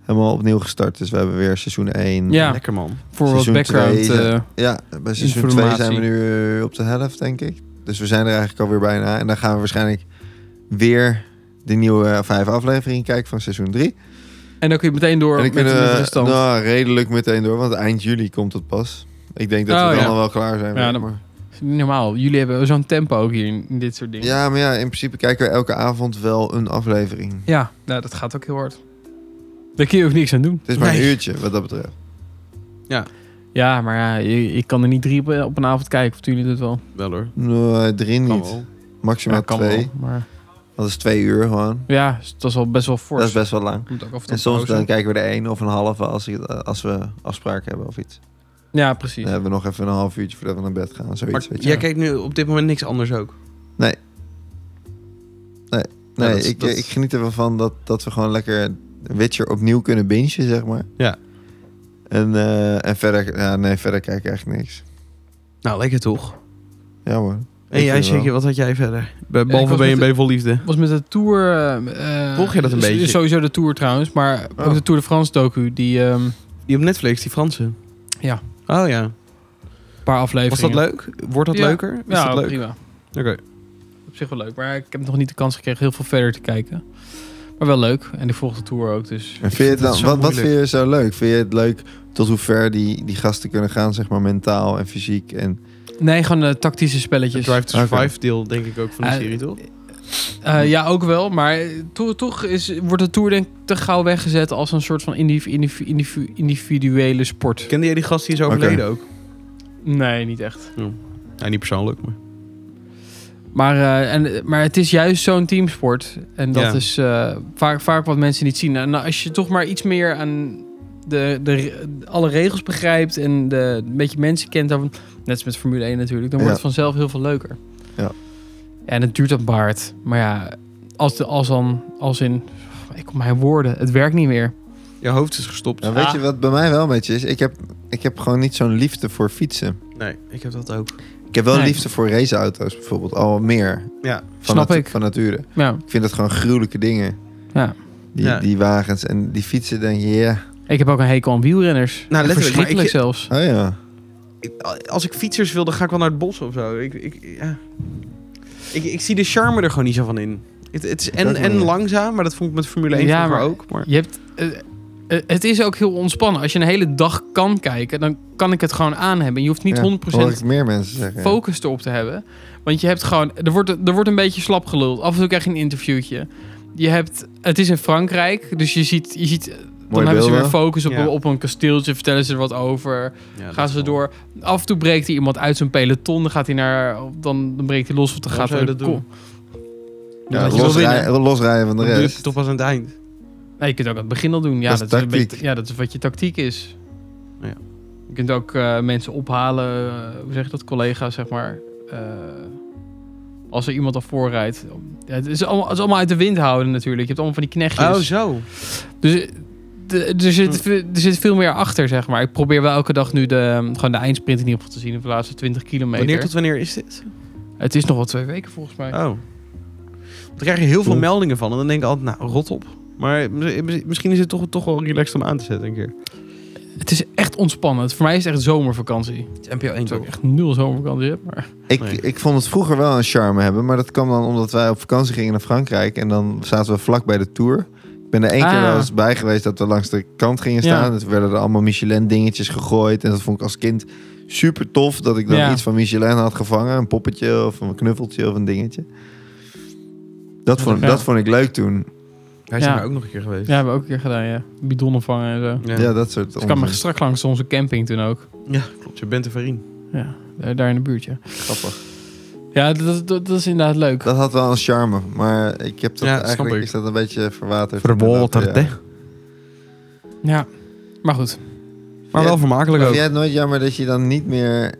[SPEAKER 3] helemaal opnieuw gestart. Dus we hebben weer seizoen 1.
[SPEAKER 2] Ja.
[SPEAKER 1] Lekker man.
[SPEAKER 2] Voor
[SPEAKER 3] Mm, Seizoen
[SPEAKER 2] wat background.
[SPEAKER 3] twee,
[SPEAKER 2] eh,
[SPEAKER 3] Ja, bij seizoen
[SPEAKER 2] Informatie.
[SPEAKER 3] 2 zijn we nu eh, op de helft, denk ik. Dus we zijn er eigenlijk alweer bijna. En dan gaan we waarschijnlijk weer de nieuwe eh, vijf afleveringen kijken van seizoen 3.
[SPEAKER 2] en dan kun je meteen door
[SPEAKER 3] En ik
[SPEAKER 2] met,
[SPEAKER 3] ben
[SPEAKER 2] met de
[SPEAKER 3] eh,
[SPEAKER 2] stand.
[SPEAKER 3] nou, redelijk meteen door, want eind juli komt het pas. Ik denk dat
[SPEAKER 2] Oh,
[SPEAKER 3] we dan
[SPEAKER 2] ja.
[SPEAKER 3] al wel klaar zijn.
[SPEAKER 2] Ja,
[SPEAKER 3] weer,
[SPEAKER 2] dan-
[SPEAKER 3] maar-
[SPEAKER 2] Dat is niet normaal. Jullie hebben zo'n tempo ook hier in, in dit soort dingen.
[SPEAKER 3] ja, maar ja, in principe kijken we elke avond wel een aflevering.
[SPEAKER 2] Ja, nou, dat gaat ook heel hard. Daar kun je ook niks aan doen.
[SPEAKER 3] Het is maar een
[SPEAKER 1] Nee.
[SPEAKER 3] uurtje, wat dat betreft.
[SPEAKER 2] Ja, maar ja, je- ik kan er niet drie op, op een avond kijken. Of doen jullie dat wel?
[SPEAKER 1] Wel hoor.
[SPEAKER 3] Nee, drie
[SPEAKER 1] Kan
[SPEAKER 3] niet.
[SPEAKER 1] wel.
[SPEAKER 3] Maximaal
[SPEAKER 2] kan
[SPEAKER 3] twee.
[SPEAKER 2] wel. Maar
[SPEAKER 3] Dat is twee uur gewoon.
[SPEAKER 2] ja, dus dat is al best wel fors.
[SPEAKER 3] Dat is best wel lang.
[SPEAKER 2] Moet ook af en toe
[SPEAKER 3] En soms
[SPEAKER 2] pauze.
[SPEAKER 3] dan kijken we er één of een halve als, ik- eh, als we afspraken hebben of iets.
[SPEAKER 2] Ja, precies.
[SPEAKER 3] Dan hebben we nog even een half uurtje voordat we naar bed gaan. Zoiets,
[SPEAKER 1] Maar
[SPEAKER 3] weet je.
[SPEAKER 1] jij kijkt nu op dit moment niks anders ook.
[SPEAKER 3] Nee,
[SPEAKER 1] Ja, dat is-
[SPEAKER 3] ik,
[SPEAKER 1] dat-
[SPEAKER 3] ik geniet er wel van dat, dat we gewoon lekker Witcher opnieuw kunnen bingen, zeg maar.
[SPEAKER 1] Ja.
[SPEAKER 3] En, eh, en verder, ja, nee, verder kijk ik echt niks.
[SPEAKER 1] Nou, lekker toch?
[SPEAKER 3] Ja hoor.
[SPEAKER 1] En
[SPEAKER 3] Ik
[SPEAKER 1] jij,
[SPEAKER 3] vind wel.
[SPEAKER 1] zeker, wat had jij verder? Eh, Be-
[SPEAKER 2] ik
[SPEAKER 1] Behalve
[SPEAKER 2] was met
[SPEAKER 1] BNB vol liefde.
[SPEAKER 2] was met de Tour... eh, eh,
[SPEAKER 1] Volg je dat een
[SPEAKER 2] is-
[SPEAKER 1] beetje?
[SPEAKER 2] is Sowieso de Tour trouwens, maar
[SPEAKER 3] Oh.
[SPEAKER 2] ook de Tour de France docu. Die ehm, een
[SPEAKER 1] Die op Netflix, die Franse.
[SPEAKER 2] Ja.
[SPEAKER 1] Oh ja.
[SPEAKER 2] paar
[SPEAKER 1] Was
[SPEAKER 2] afleveringen.
[SPEAKER 1] dat leuk? Wordt dat
[SPEAKER 2] Ja.
[SPEAKER 1] leuker? Is
[SPEAKER 2] Ja,
[SPEAKER 1] dat leuk?
[SPEAKER 2] prima.
[SPEAKER 1] Oké.
[SPEAKER 2] Op zich wel leuk. Maar ik heb nog niet de kans gekregen heel veel verder te kijken. Maar wel leuk. En ik volg de Tour ook, dus...
[SPEAKER 3] En vind je het
[SPEAKER 1] dat
[SPEAKER 3] dan,
[SPEAKER 1] zo
[SPEAKER 3] wat, wat
[SPEAKER 1] moeilijk.
[SPEAKER 3] vind je zo leuk? Vind je het leuk tot hoe ver die, die gasten kunnen gaan, zeg maar, mentaal en fysiek? En,
[SPEAKER 2] Nee, gewoon eh, tactische spelletjes.
[SPEAKER 1] Het Drive to
[SPEAKER 3] Oké.
[SPEAKER 1] Survive deel, denk ik ook, van de
[SPEAKER 2] Eh,
[SPEAKER 1] serie, toch?
[SPEAKER 2] Eh, ja, ook wel. Maar to- toch is, wordt de Tour denk ik te gauw weggezet als een soort van indiv- indiv- indiv- individuele sport.
[SPEAKER 1] Kende jij die gast die is overleden ook?
[SPEAKER 2] Nee, niet echt.
[SPEAKER 1] Ja, niet persoonlijk, maar...
[SPEAKER 2] Maar, eh, en, maar het is juist zo'n teamsport. En dat
[SPEAKER 1] Ja.
[SPEAKER 2] is eh, vaak, vaak wat mensen niet zien. En nou, als je toch maar iets meer aan de, de, re- alle regels begrijpt en de, een beetje mensen kent, dan, net als met Formule 1 natuurlijk, dan wordt
[SPEAKER 3] Ja.
[SPEAKER 2] het vanzelf heel veel leuker.
[SPEAKER 3] Ja.
[SPEAKER 2] En het duurt een baard. Maar ja, als, de, als dan, als in, ik kom mijn woorden, het werkt niet meer.
[SPEAKER 1] Je hoofd is gestopt.
[SPEAKER 3] Nou, weet
[SPEAKER 2] Ah.
[SPEAKER 3] je wat bij mij wel een beetje is? Ik heb, ik heb gewoon niet zo'n liefde voor fietsen.
[SPEAKER 1] Ah. Nee, ik heb dat ook.
[SPEAKER 3] Ik heb wel
[SPEAKER 2] Nee.
[SPEAKER 3] liefde voor raceauto's bijvoorbeeld. Al meer.
[SPEAKER 1] Ja.
[SPEAKER 3] Van
[SPEAKER 2] Snap
[SPEAKER 3] natu-
[SPEAKER 2] ik.
[SPEAKER 3] Van nature.
[SPEAKER 2] Ja,
[SPEAKER 3] Ik vind dat gewoon gruwelijke dingen.
[SPEAKER 2] Ja.
[SPEAKER 3] Die,
[SPEAKER 1] Ja.
[SPEAKER 3] die wagens en die fietsen denk je, ja.
[SPEAKER 2] ik heb ook een hekel aan wielrenners.
[SPEAKER 1] Nou, letterlijk, maar ik-
[SPEAKER 2] Verschrikkelijk zelfs.
[SPEAKER 3] Oh ja.
[SPEAKER 1] Ik- Als ik fietsers wil, dan ga ik wel naar het bos of zo. Ik, ik, ja. ik, ik zie de charme er gewoon niet zo van in. Het, het is en,
[SPEAKER 3] Dat wel,
[SPEAKER 1] en
[SPEAKER 3] ja.
[SPEAKER 1] langzaam, maar dat vond ik met Formule 1
[SPEAKER 2] Ja,
[SPEAKER 1] vroeger
[SPEAKER 2] maar-
[SPEAKER 1] ook. Maar...
[SPEAKER 2] Je hebt, eh, eh, het is ook heel ontspannen. Als je een hele dag kan kijken, dan kan ik het gewoon aan hebben. Je hoeft niet
[SPEAKER 3] Ja, Hoor
[SPEAKER 2] 100%
[SPEAKER 3] ik meer mensen zeggen. ja.
[SPEAKER 2] focus erop te hebben. Want je hebt gewoon, er wordt, er wordt een beetje slap geluld. Af en toe krijg je een interviewtje. Je hebt, het is in Frankrijk, dus je ziet, je ziet dan
[SPEAKER 3] Mooie
[SPEAKER 2] hebben ze weer
[SPEAKER 3] beelden.
[SPEAKER 2] focus op,
[SPEAKER 1] Ja.
[SPEAKER 2] op een kasteeltje, vertellen ze er wat over. Gaan ze door. Af en toe breekt hij iemand uit zijn peloton. Dan gaat hij naar. Dan, dan breekt hij los. Of dan
[SPEAKER 1] Waarom
[SPEAKER 2] gaat hij
[SPEAKER 1] zou je dat
[SPEAKER 2] kom.
[SPEAKER 3] Ja,
[SPEAKER 1] Dat je wil
[SPEAKER 3] losrij- losrijden van de
[SPEAKER 1] Dat doe je
[SPEAKER 3] rest.
[SPEAKER 1] toch pas aan het eind.
[SPEAKER 2] Nee, je kunt ook aan het begin al doen. Ja,
[SPEAKER 3] Dat
[SPEAKER 2] dat,
[SPEAKER 3] is
[SPEAKER 2] is een
[SPEAKER 3] tactiek.
[SPEAKER 2] beetje- ja, dat is wat je tactiek is.
[SPEAKER 1] Ja.
[SPEAKER 2] Je kunt ook eh, mensen ophalen. eh, hoe zeg je dat? Collega's, zeg maar. eh, als er iemand al voorrijdt. Ja, het, is allemaal, het is allemaal uit de wind houden natuurlijk. Je hebt allemaal van die knechtjes.
[SPEAKER 1] Oh, zo. Hm.
[SPEAKER 2] Dus eh, d- er zit, ve- er zit veel meer achter, zeg maar. Ik probeer wel elke dag nu de, ehm, gewoon de eindsprint in ieder geval te zien. Op de laatste 20 kilometer.
[SPEAKER 1] Wanneer tot wanneer is dit?
[SPEAKER 2] Het is nog wel twee weken volgens mij.
[SPEAKER 1] Oh. Daar krijg je heel veel
[SPEAKER 3] Oeh.
[SPEAKER 1] meldingen van. En dan denk ik altijd, nou, rot op. Maar mis- misschien is het toch, toch wel relaxed om aan te zetten een keer.
[SPEAKER 2] Het is echt ontspannend. Voor mij is het echt zomervakantie.
[SPEAKER 1] NPO 1
[SPEAKER 2] Terwijl ik echt nul zomervakantie heb. Maar...
[SPEAKER 3] Ik,
[SPEAKER 1] Nee.
[SPEAKER 3] ik vond het vroeger wel een charme hebben, maar dat kwam dan omdat wij op vakantie gingen naar Frankrijk en dan zaten we vlak bij de Tour. Ik ben er één keer
[SPEAKER 2] Ah.
[SPEAKER 3] wel eens bij geweest dat we langs de kant gingen
[SPEAKER 2] Ja.
[SPEAKER 3] staan. Het werden er allemaal Michelin dingetjes gegooid en dat vond ik als kind super tof dat ik dan
[SPEAKER 2] Ja.
[SPEAKER 3] iets van Michelin had gevangen, een poppetje of een knuffeltje of een dingetje. Dat
[SPEAKER 2] Ja,
[SPEAKER 3] vond,
[SPEAKER 2] ja.
[SPEAKER 3] dat vond ik leuk toen.
[SPEAKER 1] Hij is
[SPEAKER 2] Ja.
[SPEAKER 1] daar ook nog een keer geweest.
[SPEAKER 2] Ja, hebben we ook een keer gedaan, ja. Bidonnen vangen en zo. Dus
[SPEAKER 1] ja.
[SPEAKER 3] Dus- Ja, dat soort
[SPEAKER 2] Ik kwam maar
[SPEAKER 3] onzin.
[SPEAKER 2] strak langs onze camping toen ook.
[SPEAKER 1] Ja, klopt. Je bent een verrien.
[SPEAKER 2] Ja, daar, daar in de buurt, ja.
[SPEAKER 3] grappig.
[SPEAKER 2] Ja, dat, dat, dat is inderdaad leuk.
[SPEAKER 3] Dat had wel een charme, maar ik heb dat
[SPEAKER 1] Ja, snap
[SPEAKER 3] eigenlijk
[SPEAKER 1] ik.
[SPEAKER 3] is dat een beetje verwaterd.
[SPEAKER 1] Verwaterd,
[SPEAKER 3] Ja.
[SPEAKER 1] hè?
[SPEAKER 2] Ja. Maar goed.
[SPEAKER 1] Maar wel vermakelijk
[SPEAKER 3] Vind
[SPEAKER 1] ook.
[SPEAKER 3] jij het nooit jammer dat je dan niet meer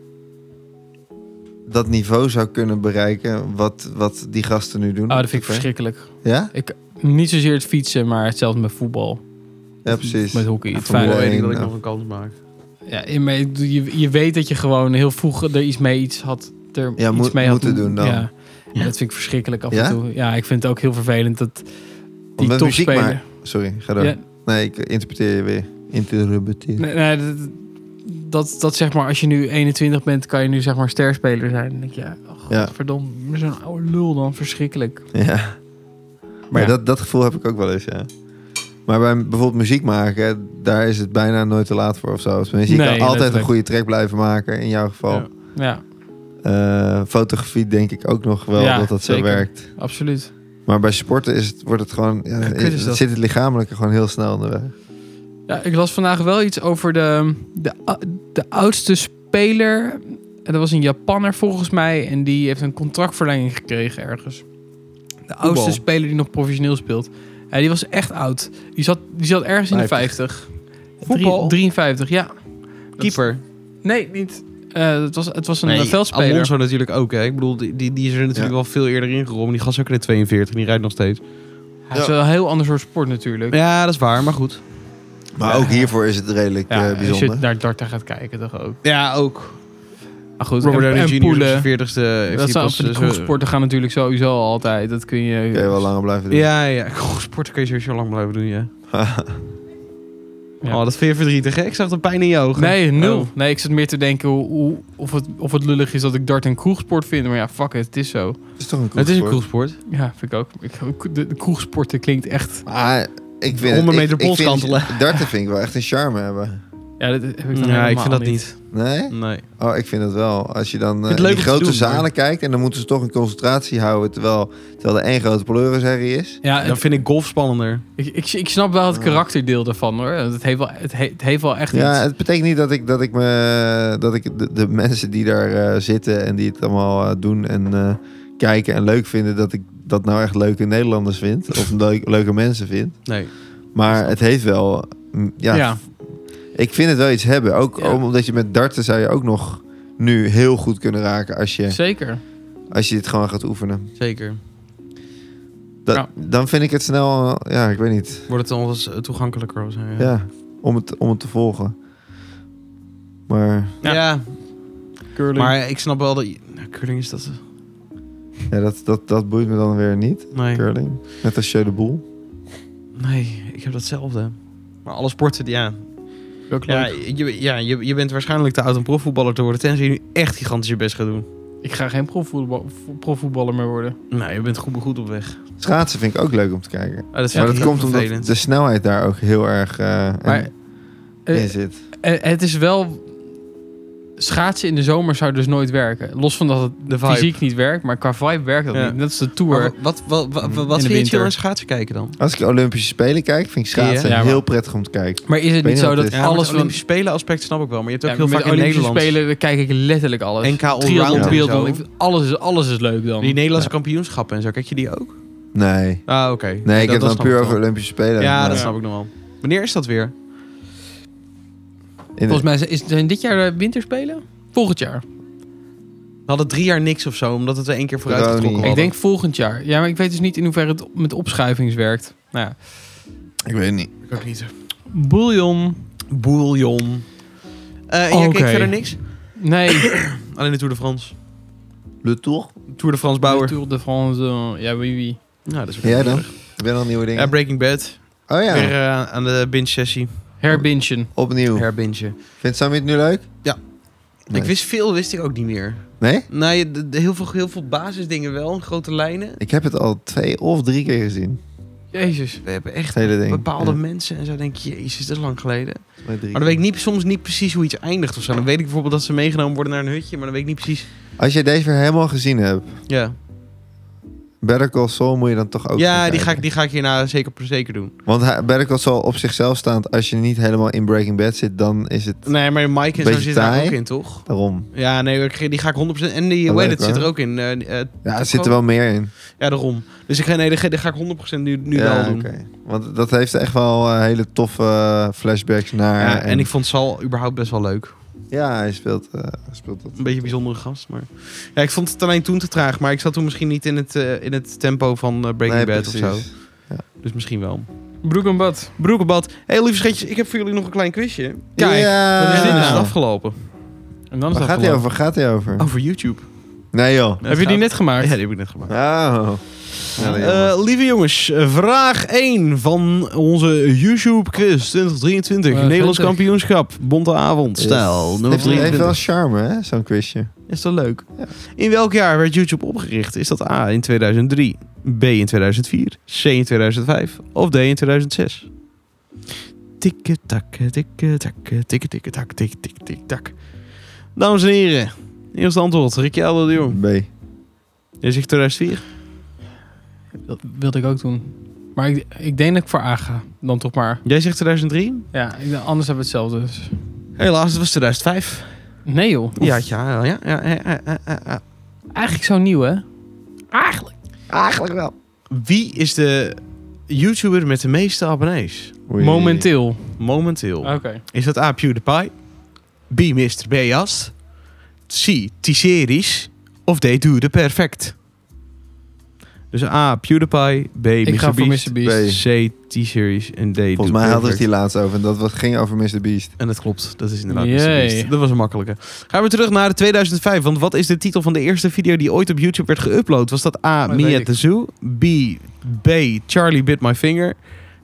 [SPEAKER 3] dat niveau zou kunnen bereiken wat, wat die gasten nu doen?
[SPEAKER 2] Oh, dat vind ik
[SPEAKER 3] Oké.
[SPEAKER 2] verschrikkelijk.
[SPEAKER 3] Ja?
[SPEAKER 2] Niet zozeer het fietsen, maar hetzelfde met voetbal.
[SPEAKER 3] Ja, precies.
[SPEAKER 2] Met hockey. het
[SPEAKER 3] van
[SPEAKER 1] Fijn,
[SPEAKER 2] feit-
[SPEAKER 1] dan weet ik dat ik
[SPEAKER 3] Ja.
[SPEAKER 1] nog een kans maak.
[SPEAKER 2] ja, in- maar ik bedoel, je, je weet dat je gewoon heel vroeg er iets mee iets had. Er
[SPEAKER 3] Ja,
[SPEAKER 2] iets
[SPEAKER 3] moet-
[SPEAKER 2] mee had
[SPEAKER 3] moeten doen dan.
[SPEAKER 2] Ja. En
[SPEAKER 1] Ja.
[SPEAKER 2] Dat vind ik verschrikkelijk af
[SPEAKER 3] Ja?
[SPEAKER 2] en toe. Ja, ik vind het ook heel vervelend dat die
[SPEAKER 3] met muziek
[SPEAKER 2] topspeler...
[SPEAKER 3] maar- Sorry, ga door.
[SPEAKER 2] Ja.
[SPEAKER 3] Nee, ik interpreteer je weer. Interpreteer.
[SPEAKER 2] Nee, nee, dat, dat, dat zeg maar, als je nu 21 bent, kan je nu zeg maar sterspeler zijn. Dan denk je, ja, oh,
[SPEAKER 3] Ja.
[SPEAKER 2] godverdomme, zo'n oude lul dan, verschrikkelijk.
[SPEAKER 3] Ja. Maar
[SPEAKER 2] Ja.
[SPEAKER 3] dat, dat gevoel heb ik ook wel eens, ja. Maar bij bijvoorbeeld muziek maken, daar is het bijna nooit te laat voor of zo. Tenminste, je
[SPEAKER 2] Nee,
[SPEAKER 3] kan altijd een
[SPEAKER 2] letterlijk.
[SPEAKER 3] goede track blijven maken, in jouw geval.
[SPEAKER 1] Ja.
[SPEAKER 2] Ja,
[SPEAKER 3] Eh, fotografie denk ik ook nog wel
[SPEAKER 2] Ja,
[SPEAKER 3] dat dat zo
[SPEAKER 2] zeker.
[SPEAKER 3] werkt.
[SPEAKER 2] absoluut.
[SPEAKER 3] Maar bij sporten is het, wordt het gewoon, ja,
[SPEAKER 2] Ja, kut is
[SPEAKER 3] het-
[SPEAKER 2] dat.
[SPEAKER 3] zit het lichamelijke gewoon heel snel in de weg.
[SPEAKER 2] Ja, ik las vandaag wel iets over de, de, de oudste speler. En Dat was een Japanner volgens mij. En die heeft een contractverlenging gekregen ergens. De oudste speler die nog professioneel speelt. Ja, die was echt oud. Die zat, die zat ergens in de 50.
[SPEAKER 1] Voetbal?
[SPEAKER 2] 53, ja.
[SPEAKER 1] Keeper.
[SPEAKER 2] Nee, niet. Eh, het, was, het was een eh, veldspeler.
[SPEAKER 1] Alonso natuurlijk ook, hè. Ik bedoel, die, die, die is er natuurlijk
[SPEAKER 3] Ja.
[SPEAKER 1] wel veel eerder ingeromd. Die gast is ook in de 42 die rijdt nog steeds.
[SPEAKER 2] Het is wel een heel ander soort sport natuurlijk.
[SPEAKER 1] Ja, dat is waar, maar goed.
[SPEAKER 3] Maar
[SPEAKER 2] Ja.
[SPEAKER 3] ook hiervoor is het redelijk eh,
[SPEAKER 2] als je
[SPEAKER 3] bijzonder.
[SPEAKER 2] naar darten gaat kijken toch ook.
[SPEAKER 1] Ja, ook.
[SPEAKER 2] Maar goed,
[SPEAKER 1] Robert
[SPEAKER 2] en,
[SPEAKER 1] Downey
[SPEAKER 2] en
[SPEAKER 1] Jr. is op
[SPEAKER 2] poelen.
[SPEAKER 1] zijn 40ste. heeft
[SPEAKER 2] Dat
[SPEAKER 1] hij
[SPEAKER 2] zijn
[SPEAKER 1] pas,
[SPEAKER 2] van die
[SPEAKER 1] eh,
[SPEAKER 2] kroegsporten gaan natuurlijk sowieso altijd. Dat kun je...
[SPEAKER 3] Kun je wel langer blijven doen.
[SPEAKER 1] Ja, ja. Goh, sport kun je sowieso lang blijven doen, ja.
[SPEAKER 2] Ja.
[SPEAKER 1] Oh, dat vind je verdrietig, hè? Ik zag de pijn in je ogen.
[SPEAKER 2] Nee, nul.
[SPEAKER 1] Oh.
[SPEAKER 2] Nee, ik zat meer te denken hoe, hoe- of, het, of het lullig is dat ik dart een kroegsport vind. Maar ja, fuck it, het is zo.
[SPEAKER 3] Het is toch een cool
[SPEAKER 1] Het is een
[SPEAKER 3] sport.
[SPEAKER 1] cool sport.
[SPEAKER 2] Ja, vind ik ook. Ik, ook de, de kroegsporten klinkt echt...
[SPEAKER 3] Maar ik vind
[SPEAKER 1] 100
[SPEAKER 3] het-
[SPEAKER 1] meter
[SPEAKER 3] ik- ik
[SPEAKER 1] pols
[SPEAKER 3] vind-
[SPEAKER 1] kantelen.
[SPEAKER 3] Darten vind ik wel echt een charme hebben.
[SPEAKER 2] Ja, dat heb ik dan
[SPEAKER 1] Ja, ik
[SPEAKER 2] helemaal
[SPEAKER 1] vind dat niet.
[SPEAKER 3] Nee?
[SPEAKER 1] Nee.
[SPEAKER 3] Oh, ik vind het wel. Als je dan eh,
[SPEAKER 1] het
[SPEAKER 3] in
[SPEAKER 1] leuk
[SPEAKER 3] die
[SPEAKER 1] om te
[SPEAKER 3] grote
[SPEAKER 1] doen,
[SPEAKER 3] zalen
[SPEAKER 1] maar-
[SPEAKER 3] kijkt en dan moeten ze toch een concentratie houden terwijl, terwijl er één grote pleurisherrie is.
[SPEAKER 2] Ja,
[SPEAKER 1] Dan
[SPEAKER 2] het-
[SPEAKER 1] vind ik golf spannender.
[SPEAKER 2] ik, ik, ik snap wel het karakterdeel daarvan hoor. Het heeft wel, het he- het heeft wel echt
[SPEAKER 3] Ja,
[SPEAKER 2] iets.
[SPEAKER 3] het betekent niet dat ik, dat ik, me, dat ik de, de mensen die daar eh, zitten en die het allemaal eh, doen en eh, kijken en leuk vinden dat ik dat nou echt leuke Nederlanders vind. Of leuk- leuke mensen vind.
[SPEAKER 1] Nee.
[SPEAKER 3] Maar het heeft wel... mm, Ja,
[SPEAKER 2] Ja.
[SPEAKER 3] ik vind het wel iets hebben. Ook
[SPEAKER 2] Ja.
[SPEAKER 3] omdat je met darten zou je ook nog nu heel goed kunnen raken als je,
[SPEAKER 2] Zeker.
[SPEAKER 3] als je dit gewoon gaat oefenen.
[SPEAKER 1] Zeker.
[SPEAKER 3] Da-
[SPEAKER 2] Ja.
[SPEAKER 3] Dan vind ik het snel... eh, Ja, ik weet niet.
[SPEAKER 1] Wordt het anders eh, toegankelijker of zo? Ja.
[SPEAKER 3] Ja, om het, om het te volgen. Maar
[SPEAKER 1] Ja.
[SPEAKER 2] Curling.
[SPEAKER 1] maar ik snap wel dat... Nou, curling is dat...
[SPEAKER 3] ja, dat, dat, dat boeit me dan weer niet.
[SPEAKER 1] Nee.
[SPEAKER 3] Curling. Net als Jeu de Boel.
[SPEAKER 1] Nee, ik heb datzelfde. Maar alle sporten, ja.
[SPEAKER 2] Welk
[SPEAKER 1] Ja,
[SPEAKER 2] leuk.
[SPEAKER 1] je, ja je, je bent waarschijnlijk te oud om profvoetballer te worden... tenzij je nu echt gigantisch je best gaat doen.
[SPEAKER 2] Ik ga geen profvoetbal- profvoetballer meer worden.
[SPEAKER 1] Nee, je bent goed, goed op weg.
[SPEAKER 3] Schaatsen vind ik ook leuk om te
[SPEAKER 1] Ah,
[SPEAKER 3] kijken.
[SPEAKER 1] dat
[SPEAKER 3] maar
[SPEAKER 1] vind
[SPEAKER 3] dat
[SPEAKER 1] ik
[SPEAKER 3] komt
[SPEAKER 1] heel
[SPEAKER 3] omdat
[SPEAKER 1] vervelend.
[SPEAKER 3] de snelheid daar ook heel erg eh, in-
[SPEAKER 2] Maar eh,
[SPEAKER 3] in zit.
[SPEAKER 2] eh, het is wel... Schaatsen in de zomer zou dus nooit werken. Los van dat het
[SPEAKER 1] De vibe.
[SPEAKER 2] fysiek niet werkt, maar qua vibe werkt dat
[SPEAKER 1] Ja.
[SPEAKER 2] niet. Dat is de tour.
[SPEAKER 1] Maar Wat, wat, wat, wat,
[SPEAKER 2] In de
[SPEAKER 1] vind je
[SPEAKER 2] winter.
[SPEAKER 1] chill aan schaatsen kijken dan?
[SPEAKER 3] Als ik Olympische Spelen kijk, vind ik schaatsen
[SPEAKER 2] Ja, maar-
[SPEAKER 3] heel prettig om te kijken.
[SPEAKER 2] Maar is het
[SPEAKER 3] weet
[SPEAKER 2] niet
[SPEAKER 3] niet
[SPEAKER 2] zo
[SPEAKER 3] wat
[SPEAKER 2] dat
[SPEAKER 3] het is.
[SPEAKER 1] Ja,
[SPEAKER 2] alles
[SPEAKER 1] alles
[SPEAKER 2] van...
[SPEAKER 1] Olympische Spelen aspect snap ik wel. Maar je hebt ook
[SPEAKER 2] Ja,
[SPEAKER 1] heel
[SPEAKER 2] met
[SPEAKER 1] vaak
[SPEAKER 2] de
[SPEAKER 1] in
[SPEAKER 2] Olympische
[SPEAKER 1] Nederland.
[SPEAKER 2] Spelen daar kijk ik letterlijk alles.
[SPEAKER 1] NK allround
[SPEAKER 2] Triathlon,
[SPEAKER 1] en
[SPEAKER 2] biathlon,
[SPEAKER 1] zo.
[SPEAKER 2] ik vind- alles, is- alles is leuk dan.
[SPEAKER 1] Die Nederlandse kampioenschappen en zo. Kijk je die ook?
[SPEAKER 3] Nee.
[SPEAKER 1] Ah, oké.
[SPEAKER 3] Nee, ik
[SPEAKER 1] Dat-
[SPEAKER 3] heb
[SPEAKER 1] dat
[SPEAKER 3] dan
[SPEAKER 1] snap
[SPEAKER 3] puur
[SPEAKER 1] ik
[SPEAKER 3] over
[SPEAKER 1] wel.
[SPEAKER 3] Olympische Spelen.
[SPEAKER 1] Ja,
[SPEAKER 3] Maar
[SPEAKER 1] dat
[SPEAKER 2] Ja.
[SPEAKER 1] snap ik nog wel. Wanneer is dat weer?
[SPEAKER 3] in de-
[SPEAKER 2] Volgens mij zijn- is, zijn dit jaar de winterspelen? Volgend jaar.
[SPEAKER 1] We hadden drie jaar niks of zo, omdat het er één keer vooruit
[SPEAKER 3] Corona.
[SPEAKER 1] getrokken
[SPEAKER 3] Ik
[SPEAKER 2] Ik
[SPEAKER 1] hadden.
[SPEAKER 2] denk volgend jaar. Ja, maar ik weet dus niet in hoeverre het op- met opschuivings werkt. Nou ja.
[SPEAKER 3] Ik weet het niet.
[SPEAKER 1] Ik ook niet.
[SPEAKER 2] Bouillon.
[SPEAKER 1] Bouillon. Eh en jij
[SPEAKER 2] Oké.
[SPEAKER 1] keek verder niks?
[SPEAKER 2] Nee.
[SPEAKER 1] Alleen de Tour de France.
[SPEAKER 3] Le Tour?
[SPEAKER 1] Tour de France Bauer.
[SPEAKER 2] Tour de France. eh, Ja, wie wie.
[SPEAKER 1] Nou, dat is
[SPEAKER 3] En
[SPEAKER 1] weer
[SPEAKER 3] jij dan?
[SPEAKER 1] nodig.
[SPEAKER 3] Ik ben al nieuwe dingen.
[SPEAKER 1] Ja, Breaking Bad.
[SPEAKER 3] oh ja,
[SPEAKER 1] Weer eh, aan de binge-sessie.
[SPEAKER 2] Herbinchen.
[SPEAKER 3] opnieuw.
[SPEAKER 1] Herbingen.
[SPEAKER 3] Vindt Sammy het nu leuk?
[SPEAKER 1] Ja.
[SPEAKER 3] Nee?
[SPEAKER 1] Ik wist veel, wist ik ook niet meer.
[SPEAKER 3] nee?
[SPEAKER 1] Nee, Nou, de- de- heel, veel, heel veel basisdingen wel, grote lijnen.
[SPEAKER 3] Ik heb het al twee of drie keer gezien.
[SPEAKER 2] Jezus.
[SPEAKER 1] We hebben echt
[SPEAKER 3] Het hele ding.
[SPEAKER 1] bepaalde
[SPEAKER 3] Ja,
[SPEAKER 1] mensen en zo denk je, jezus, dat is lang geleden.
[SPEAKER 3] twee, drie
[SPEAKER 1] Maar dan Oh, weet
[SPEAKER 3] keer.
[SPEAKER 1] ik niet, soms niet precies hoe iets eindigt of zo. Dan weet ik bijvoorbeeld dat ze meegenomen worden naar een hutje, maar dan weet ik niet precies.
[SPEAKER 3] Als jij deze weer helemaal gezien hebt,
[SPEAKER 1] Ja,
[SPEAKER 3] Better Call Saul moet je dan toch ook
[SPEAKER 1] ja
[SPEAKER 3] gaan
[SPEAKER 1] die, ga
[SPEAKER 3] kijken.
[SPEAKER 1] ik, die ga ik hierna zeker per zeker doen.
[SPEAKER 3] Want hij- Better Call Saul op zichzelf staand, als je niet helemaal in Breaking Bad zit, dan is het
[SPEAKER 1] Nee, maar Mike en zo
[SPEAKER 3] Beetje
[SPEAKER 1] zit daar
[SPEAKER 3] taai.
[SPEAKER 1] ook in, toch?
[SPEAKER 3] daarom.
[SPEAKER 1] Ja, nee, ik- die ga ik 100%. En die
[SPEAKER 3] Oh,
[SPEAKER 1] Weddit
[SPEAKER 3] leuk,
[SPEAKER 1] zit er
[SPEAKER 3] hoor.
[SPEAKER 1] ook in. eh, eh,
[SPEAKER 3] Ja,
[SPEAKER 1] Tucker.
[SPEAKER 3] er zit er wel meer in.
[SPEAKER 1] ja, daarom. Dus ik ga, nee, die ga- die ga ik 100% nu, nu
[SPEAKER 3] ja,
[SPEAKER 1] wel doen.
[SPEAKER 3] oké. Want dat heeft echt wel eh, hele toffe eh, flashbacks naar.
[SPEAKER 1] Ja, en ik vond Sal überhaupt best wel leuk.
[SPEAKER 3] ja hij speelt, eh, hij speelt dat.
[SPEAKER 1] Een beetje een bijzondere gast, maar... Ja, ik vond het alleen toen te traag, maar ik zat toen misschien niet in het, eh, in het tempo van eh, Breaking
[SPEAKER 3] Nee,
[SPEAKER 1] Bad of zo.
[SPEAKER 3] precies.
[SPEAKER 1] Dus misschien wel.
[SPEAKER 2] Broek en bad.
[SPEAKER 1] Broekenbad. Hé, hey, lieve schatjes, ik heb voor jullie nog een klein quizje.
[SPEAKER 2] Kijk,
[SPEAKER 3] ja.
[SPEAKER 1] Dan is dit dus
[SPEAKER 3] Waar
[SPEAKER 1] afgelopen. Oh.
[SPEAKER 2] En dan is dat
[SPEAKER 3] gaat hij
[SPEAKER 2] gewoon-
[SPEAKER 3] over? Gaat hij over?
[SPEAKER 1] Over YouTube.
[SPEAKER 3] Nee joh.
[SPEAKER 2] Heb je die net gemaakt?
[SPEAKER 1] Ja, die heb ik net gemaakt.
[SPEAKER 3] Oh. Ja,
[SPEAKER 1] Eh,
[SPEAKER 3] jongen.
[SPEAKER 1] lieve jongens, eh, vraag 1 van onze YouTube quiz 2023.
[SPEAKER 2] Eh,
[SPEAKER 1] Nederlands
[SPEAKER 2] 20.
[SPEAKER 1] kampioenschap. Bonte avond. Stijl.
[SPEAKER 3] Yes.
[SPEAKER 1] Nummer
[SPEAKER 3] Heeft- Heeft wel
[SPEAKER 1] 23.
[SPEAKER 3] charme, hè, zo'n quizje.
[SPEAKER 1] Is dat leuk?
[SPEAKER 3] Ja.
[SPEAKER 1] In welk jaar werd YouTube opgericht? Is dat A in 2003, B in 2004, C in 2005 of D in 2006? Tikke takke, tikke takke, tikke tikke tak, tik tik tik tak. Dames en heren, eerste antwoord. Ricciardo de Jong.
[SPEAKER 3] B.
[SPEAKER 1] Jij zegt 2004?
[SPEAKER 2] Dat wilde ik ook doen. Maar ik, ik denk dat ik voor A ga. Dan toch maar.
[SPEAKER 1] Jij zegt 2003?
[SPEAKER 2] Ja, ik, anders hebben we hetzelfde. dus.
[SPEAKER 1] Helaas, het was 2005.
[SPEAKER 2] Nee joh.
[SPEAKER 1] Ja, ja, ja. ja, ja, ja, ja, ja.
[SPEAKER 2] Eigenlijk zo nieuw hè? Eigenlijk.
[SPEAKER 1] Eigenlijk wel. Wie is de YouTuber met de meeste abonnees?
[SPEAKER 3] Oei.
[SPEAKER 2] Momenteel.
[SPEAKER 1] Momenteel.
[SPEAKER 2] Oké.
[SPEAKER 1] Is dat A. PewDiePie? B. Mr. Beast? C. T-Series? Of D. Doe de Perfect? Dus A. PewDiePie, B.
[SPEAKER 2] Ik ga voor Mr. Beast.
[SPEAKER 3] B.
[SPEAKER 1] C. T-Series en D. Doe
[SPEAKER 3] Volgens mij hadden
[SPEAKER 1] Perfect.
[SPEAKER 3] ze die laatst over. En dat was, ging over Mr. Beast.
[SPEAKER 1] En dat klopt, dat is inderdaad
[SPEAKER 2] Jee.
[SPEAKER 1] Mr. Beast. Dat was een makkelijke. Gaan we terug naar 2005, want wat is de titel van de eerste video die ooit op YouTube werd geüpload? Was dat A,
[SPEAKER 2] Dat
[SPEAKER 1] Me
[SPEAKER 2] weet
[SPEAKER 1] at
[SPEAKER 2] ik.
[SPEAKER 1] the Zoo, B, B, Charlie Bit My Finger,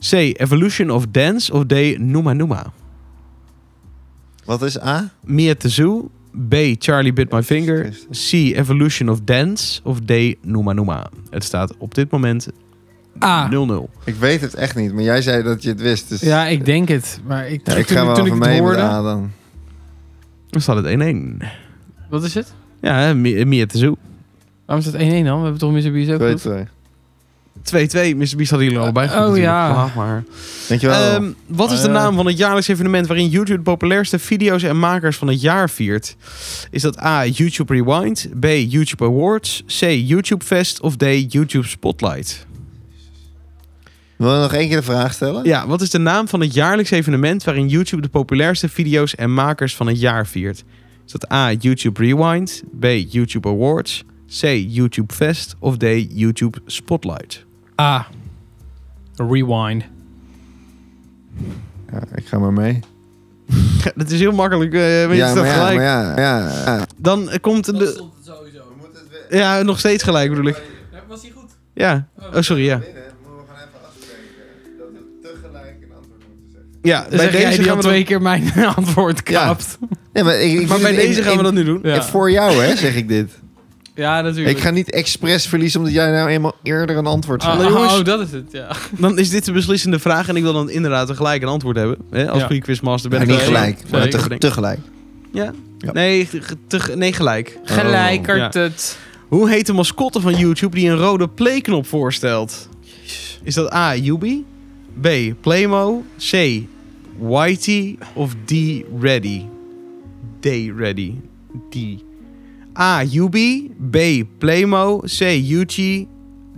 [SPEAKER 1] C, Evolution of Dance of D, Noema Noema?
[SPEAKER 3] Wat is A?
[SPEAKER 1] Me at the Zoo, B, Charlie Bit My Finger, C, Evolution of Dance of D, Noema Noema? Het staat op dit moment
[SPEAKER 2] A.
[SPEAKER 1] 0-0.
[SPEAKER 3] Ik weet het echt niet, maar jij zei dat je het wist. Dus
[SPEAKER 2] Ja, ik denk het. Maar ik,
[SPEAKER 3] Ja,
[SPEAKER 2] toen,
[SPEAKER 3] ik ga wel
[SPEAKER 2] toen
[SPEAKER 3] even
[SPEAKER 2] ik
[SPEAKER 3] mee
[SPEAKER 2] het
[SPEAKER 3] met
[SPEAKER 2] hoorde...
[SPEAKER 3] A dan.
[SPEAKER 1] Dan staat het 1-1.
[SPEAKER 2] Wat is het?
[SPEAKER 1] Ja, hè, Me, Me at the Zoo.
[SPEAKER 2] Waarom is dat 1-1 dan? We hebben toch Mr. Beast ook
[SPEAKER 3] Twee,
[SPEAKER 2] goed?
[SPEAKER 3] twee.
[SPEAKER 1] 2-2. Mr. Beast hadden jullie allebei. goed
[SPEAKER 2] Oh,
[SPEAKER 1] natuurlijk.
[SPEAKER 2] ja.
[SPEAKER 1] Klaar, maar.
[SPEAKER 3] Weet je wel?
[SPEAKER 1] Ehm, wat is de
[SPEAKER 2] Ah, ja.
[SPEAKER 1] naam van het jaarlijks evenement waarin YouTube de populairste video's en makers van het jaar viert? Is dat A. YouTube Rewind, B. YouTube Awards, C. YouTube Fest of D. YouTube Spotlight?
[SPEAKER 3] Wil je nog één keer de vraag stellen?
[SPEAKER 1] Ja, wat is de naam van het jaarlijks evenement waarin YouTube de populairste video's en makers van het jaar viert? Is dat A. YouTube Rewind, B. YouTube Awards, C. YouTube Fest of D. YouTube Spotlight?
[SPEAKER 2] Ah. Rewind.
[SPEAKER 3] Ja, ik ga maar mee.
[SPEAKER 1] Dat is heel makkelijk, eh, weet je
[SPEAKER 3] ja,
[SPEAKER 1] dat
[SPEAKER 3] maar ja,
[SPEAKER 1] gelijk.
[SPEAKER 3] maar ja, ja, ja.
[SPEAKER 1] Dan eh, komt de...
[SPEAKER 2] stond het sowieso.
[SPEAKER 1] Ja, nog steeds gelijk bedoel ik.
[SPEAKER 2] Was hij goed?
[SPEAKER 1] Ja. Oh, sorry, ja. Ja,
[SPEAKER 2] Bij
[SPEAKER 1] bij
[SPEAKER 2] jij
[SPEAKER 1] deze
[SPEAKER 2] die
[SPEAKER 1] gaan
[SPEAKER 2] al
[SPEAKER 1] we
[SPEAKER 2] twee
[SPEAKER 1] dan-
[SPEAKER 2] keer mijn antwoord kapt.
[SPEAKER 3] Nee, maar ik,
[SPEAKER 1] Maar
[SPEAKER 3] ik doe
[SPEAKER 1] bij
[SPEAKER 3] dit in-
[SPEAKER 1] deze gaan we
[SPEAKER 3] in-
[SPEAKER 1] dat nu doen.
[SPEAKER 2] Ja,
[SPEAKER 3] in- Voor jou, hè, zeg ik dit.
[SPEAKER 2] Ja, natuurlijk.
[SPEAKER 3] Ik ga niet expres verliezen omdat jij nou eenmaal eerder een antwoord
[SPEAKER 2] Ah,
[SPEAKER 3] zegt.
[SPEAKER 2] ah,
[SPEAKER 1] jongens.
[SPEAKER 2] oh, dat is het, ja.
[SPEAKER 1] Dan is dit de beslissende vraag en ik wil dan inderdaad tegelijk een antwoord hebben. Hè? Als
[SPEAKER 2] Ja.
[SPEAKER 1] pre-quizmaster ben
[SPEAKER 3] Ja,
[SPEAKER 1] ik
[SPEAKER 3] niet
[SPEAKER 1] wel-
[SPEAKER 3] gelijk, maar
[SPEAKER 2] Zeker.
[SPEAKER 3] teg- tegelijk.
[SPEAKER 1] Ja?
[SPEAKER 3] Ja.
[SPEAKER 1] Nee, ge- teg- nee, gelijk.
[SPEAKER 2] Gelijkert
[SPEAKER 1] Oh, Ja.
[SPEAKER 2] het.
[SPEAKER 1] Hoe heet de mascotte van YouTube die een rode playknop voorstelt? Is dat A. Yubi, B. Playmo, C. Whitey of D. Ready? D. Ready. D. A. Yubi, B. Playmo, C. Yuchi,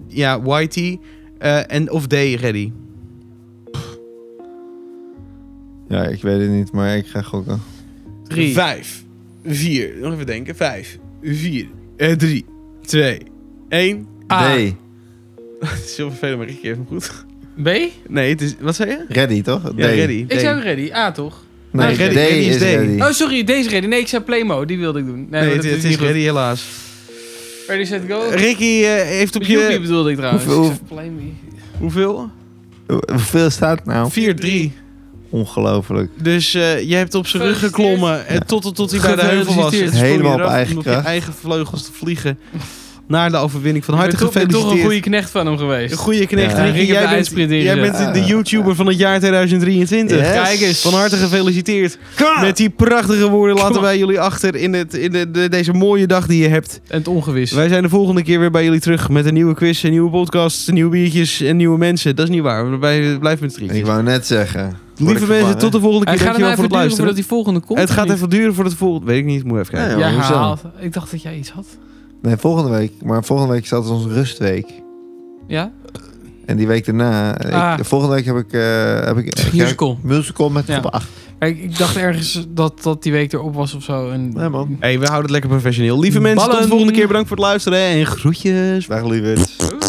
[SPEAKER 1] ja, Whitey eh, en of D. Ready.
[SPEAKER 3] Ja, ik weet het niet, maar ik ga gokken.
[SPEAKER 2] Drie.
[SPEAKER 1] Vijf, vier, nog even denken. Vijf, vier, eh, drie, twee, één.
[SPEAKER 2] A.
[SPEAKER 1] Ah.
[SPEAKER 3] D.
[SPEAKER 1] Het is heel vervelend, maar ik geef hem goed.
[SPEAKER 2] B? Ik
[SPEAKER 1] Nee, het is, wat zei je?
[SPEAKER 3] Ready, toch? D.
[SPEAKER 1] Ja, Ready. D.
[SPEAKER 2] zei ook ready. A, toch?
[SPEAKER 3] Nee,
[SPEAKER 1] Ah, ready.
[SPEAKER 3] D
[SPEAKER 1] Ready is
[SPEAKER 3] is
[SPEAKER 1] D.
[SPEAKER 3] ready.
[SPEAKER 2] Oh, sorry, deze ready. Nee, ik zei Playmo. Die wilde ik doen. Nee,
[SPEAKER 1] Nee,
[SPEAKER 2] maar
[SPEAKER 1] het,
[SPEAKER 2] dat
[SPEAKER 1] het is
[SPEAKER 2] niet goed. Oh.
[SPEAKER 1] ready helaas.
[SPEAKER 2] Ready, set, go.
[SPEAKER 1] Ricky eh, heeft op
[SPEAKER 2] Yuppie
[SPEAKER 1] je...
[SPEAKER 2] bedoelde ik trouwens.
[SPEAKER 3] Hoeveel-
[SPEAKER 2] Ik zei Playmo.
[SPEAKER 1] Hoeveel?
[SPEAKER 3] Hoe- Hoeveel staat het nou?
[SPEAKER 1] 4-3.
[SPEAKER 3] Ongelooflijk.
[SPEAKER 1] Dus eh, je hebt op zijn rug geklommen en tot, tot, tot hij bij de heuvel was.
[SPEAKER 2] Gefeliciteerd.
[SPEAKER 1] En sprong je
[SPEAKER 3] Helemaal op
[SPEAKER 1] eraf
[SPEAKER 3] eigen
[SPEAKER 1] om op je
[SPEAKER 3] kracht.
[SPEAKER 1] eigen vleugels te vliegen naar de overwinning. Van
[SPEAKER 2] Ik
[SPEAKER 1] harte
[SPEAKER 2] ben toch- ben toch een goede
[SPEAKER 1] gefeliciteerd.
[SPEAKER 2] knecht van hem
[SPEAKER 1] Een
[SPEAKER 2] geweest.
[SPEAKER 1] goede knecht.
[SPEAKER 3] Ja.
[SPEAKER 1] Ricky,
[SPEAKER 2] Ricky
[SPEAKER 1] jij
[SPEAKER 2] bij
[SPEAKER 1] bent,
[SPEAKER 2] uitsprinteren.
[SPEAKER 1] jij bent
[SPEAKER 3] Ja.
[SPEAKER 1] de YouTuber van het jaar 2023.
[SPEAKER 3] Yes.
[SPEAKER 1] Kijk eens. Van harte gefeliciteerd. Met
[SPEAKER 3] Ah.
[SPEAKER 2] Met-
[SPEAKER 1] die prachtige woorden laten
[SPEAKER 2] Kom.
[SPEAKER 1] wij jullie achter in, het, in de- de- deze mooie dag die je hebt.
[SPEAKER 2] En het ongewis.
[SPEAKER 1] Wij zijn de volgende keer weer bij jullie terug met een nieuwe quiz, een nieuwe podcast, nieuwe biertjes en nieuwe mensen. Dat is niet waar. Wij blijven met
[SPEAKER 3] Ik
[SPEAKER 1] drie.
[SPEAKER 3] wou net zeggen. Word
[SPEAKER 1] Lieve
[SPEAKER 3] ik
[SPEAKER 1] mensen,
[SPEAKER 3] vervangen?
[SPEAKER 1] tot de volgende
[SPEAKER 2] Hij
[SPEAKER 1] keer.
[SPEAKER 2] gaat er nou
[SPEAKER 1] Dankjewel voor
[SPEAKER 2] even
[SPEAKER 1] het luisteren.
[SPEAKER 2] duren voordat die volgende komt.
[SPEAKER 1] Het
[SPEAKER 2] of
[SPEAKER 1] gaat
[SPEAKER 2] niet?
[SPEAKER 1] even duren voordat de volgende... Weet ik niet, moet even kijken.
[SPEAKER 3] Ja,
[SPEAKER 2] Ja,
[SPEAKER 3] hoezo?
[SPEAKER 2] haalt. Ik dacht dat jij iets had.
[SPEAKER 3] Nee, volgende week. Maar volgende week staat onze rustweek.
[SPEAKER 2] Ja?
[SPEAKER 3] En die week daarna. ik-
[SPEAKER 2] Ah.
[SPEAKER 3] de volgende week heb ik. eh, heb ik ik-
[SPEAKER 2] Musical.
[SPEAKER 3] musical met
[SPEAKER 2] Ja.
[SPEAKER 3] groep 8.
[SPEAKER 2] Maar Ik, ik dacht ergens dat, dat die week erop was of zo. En
[SPEAKER 3] Nee, man.
[SPEAKER 1] hey, we houden het lekker professioneel. Lieve mensen, tot
[SPEAKER 2] Ballen.
[SPEAKER 1] de volgende keer. Bedankt voor het luisteren en groetjes.
[SPEAKER 3] Dag, lieverd.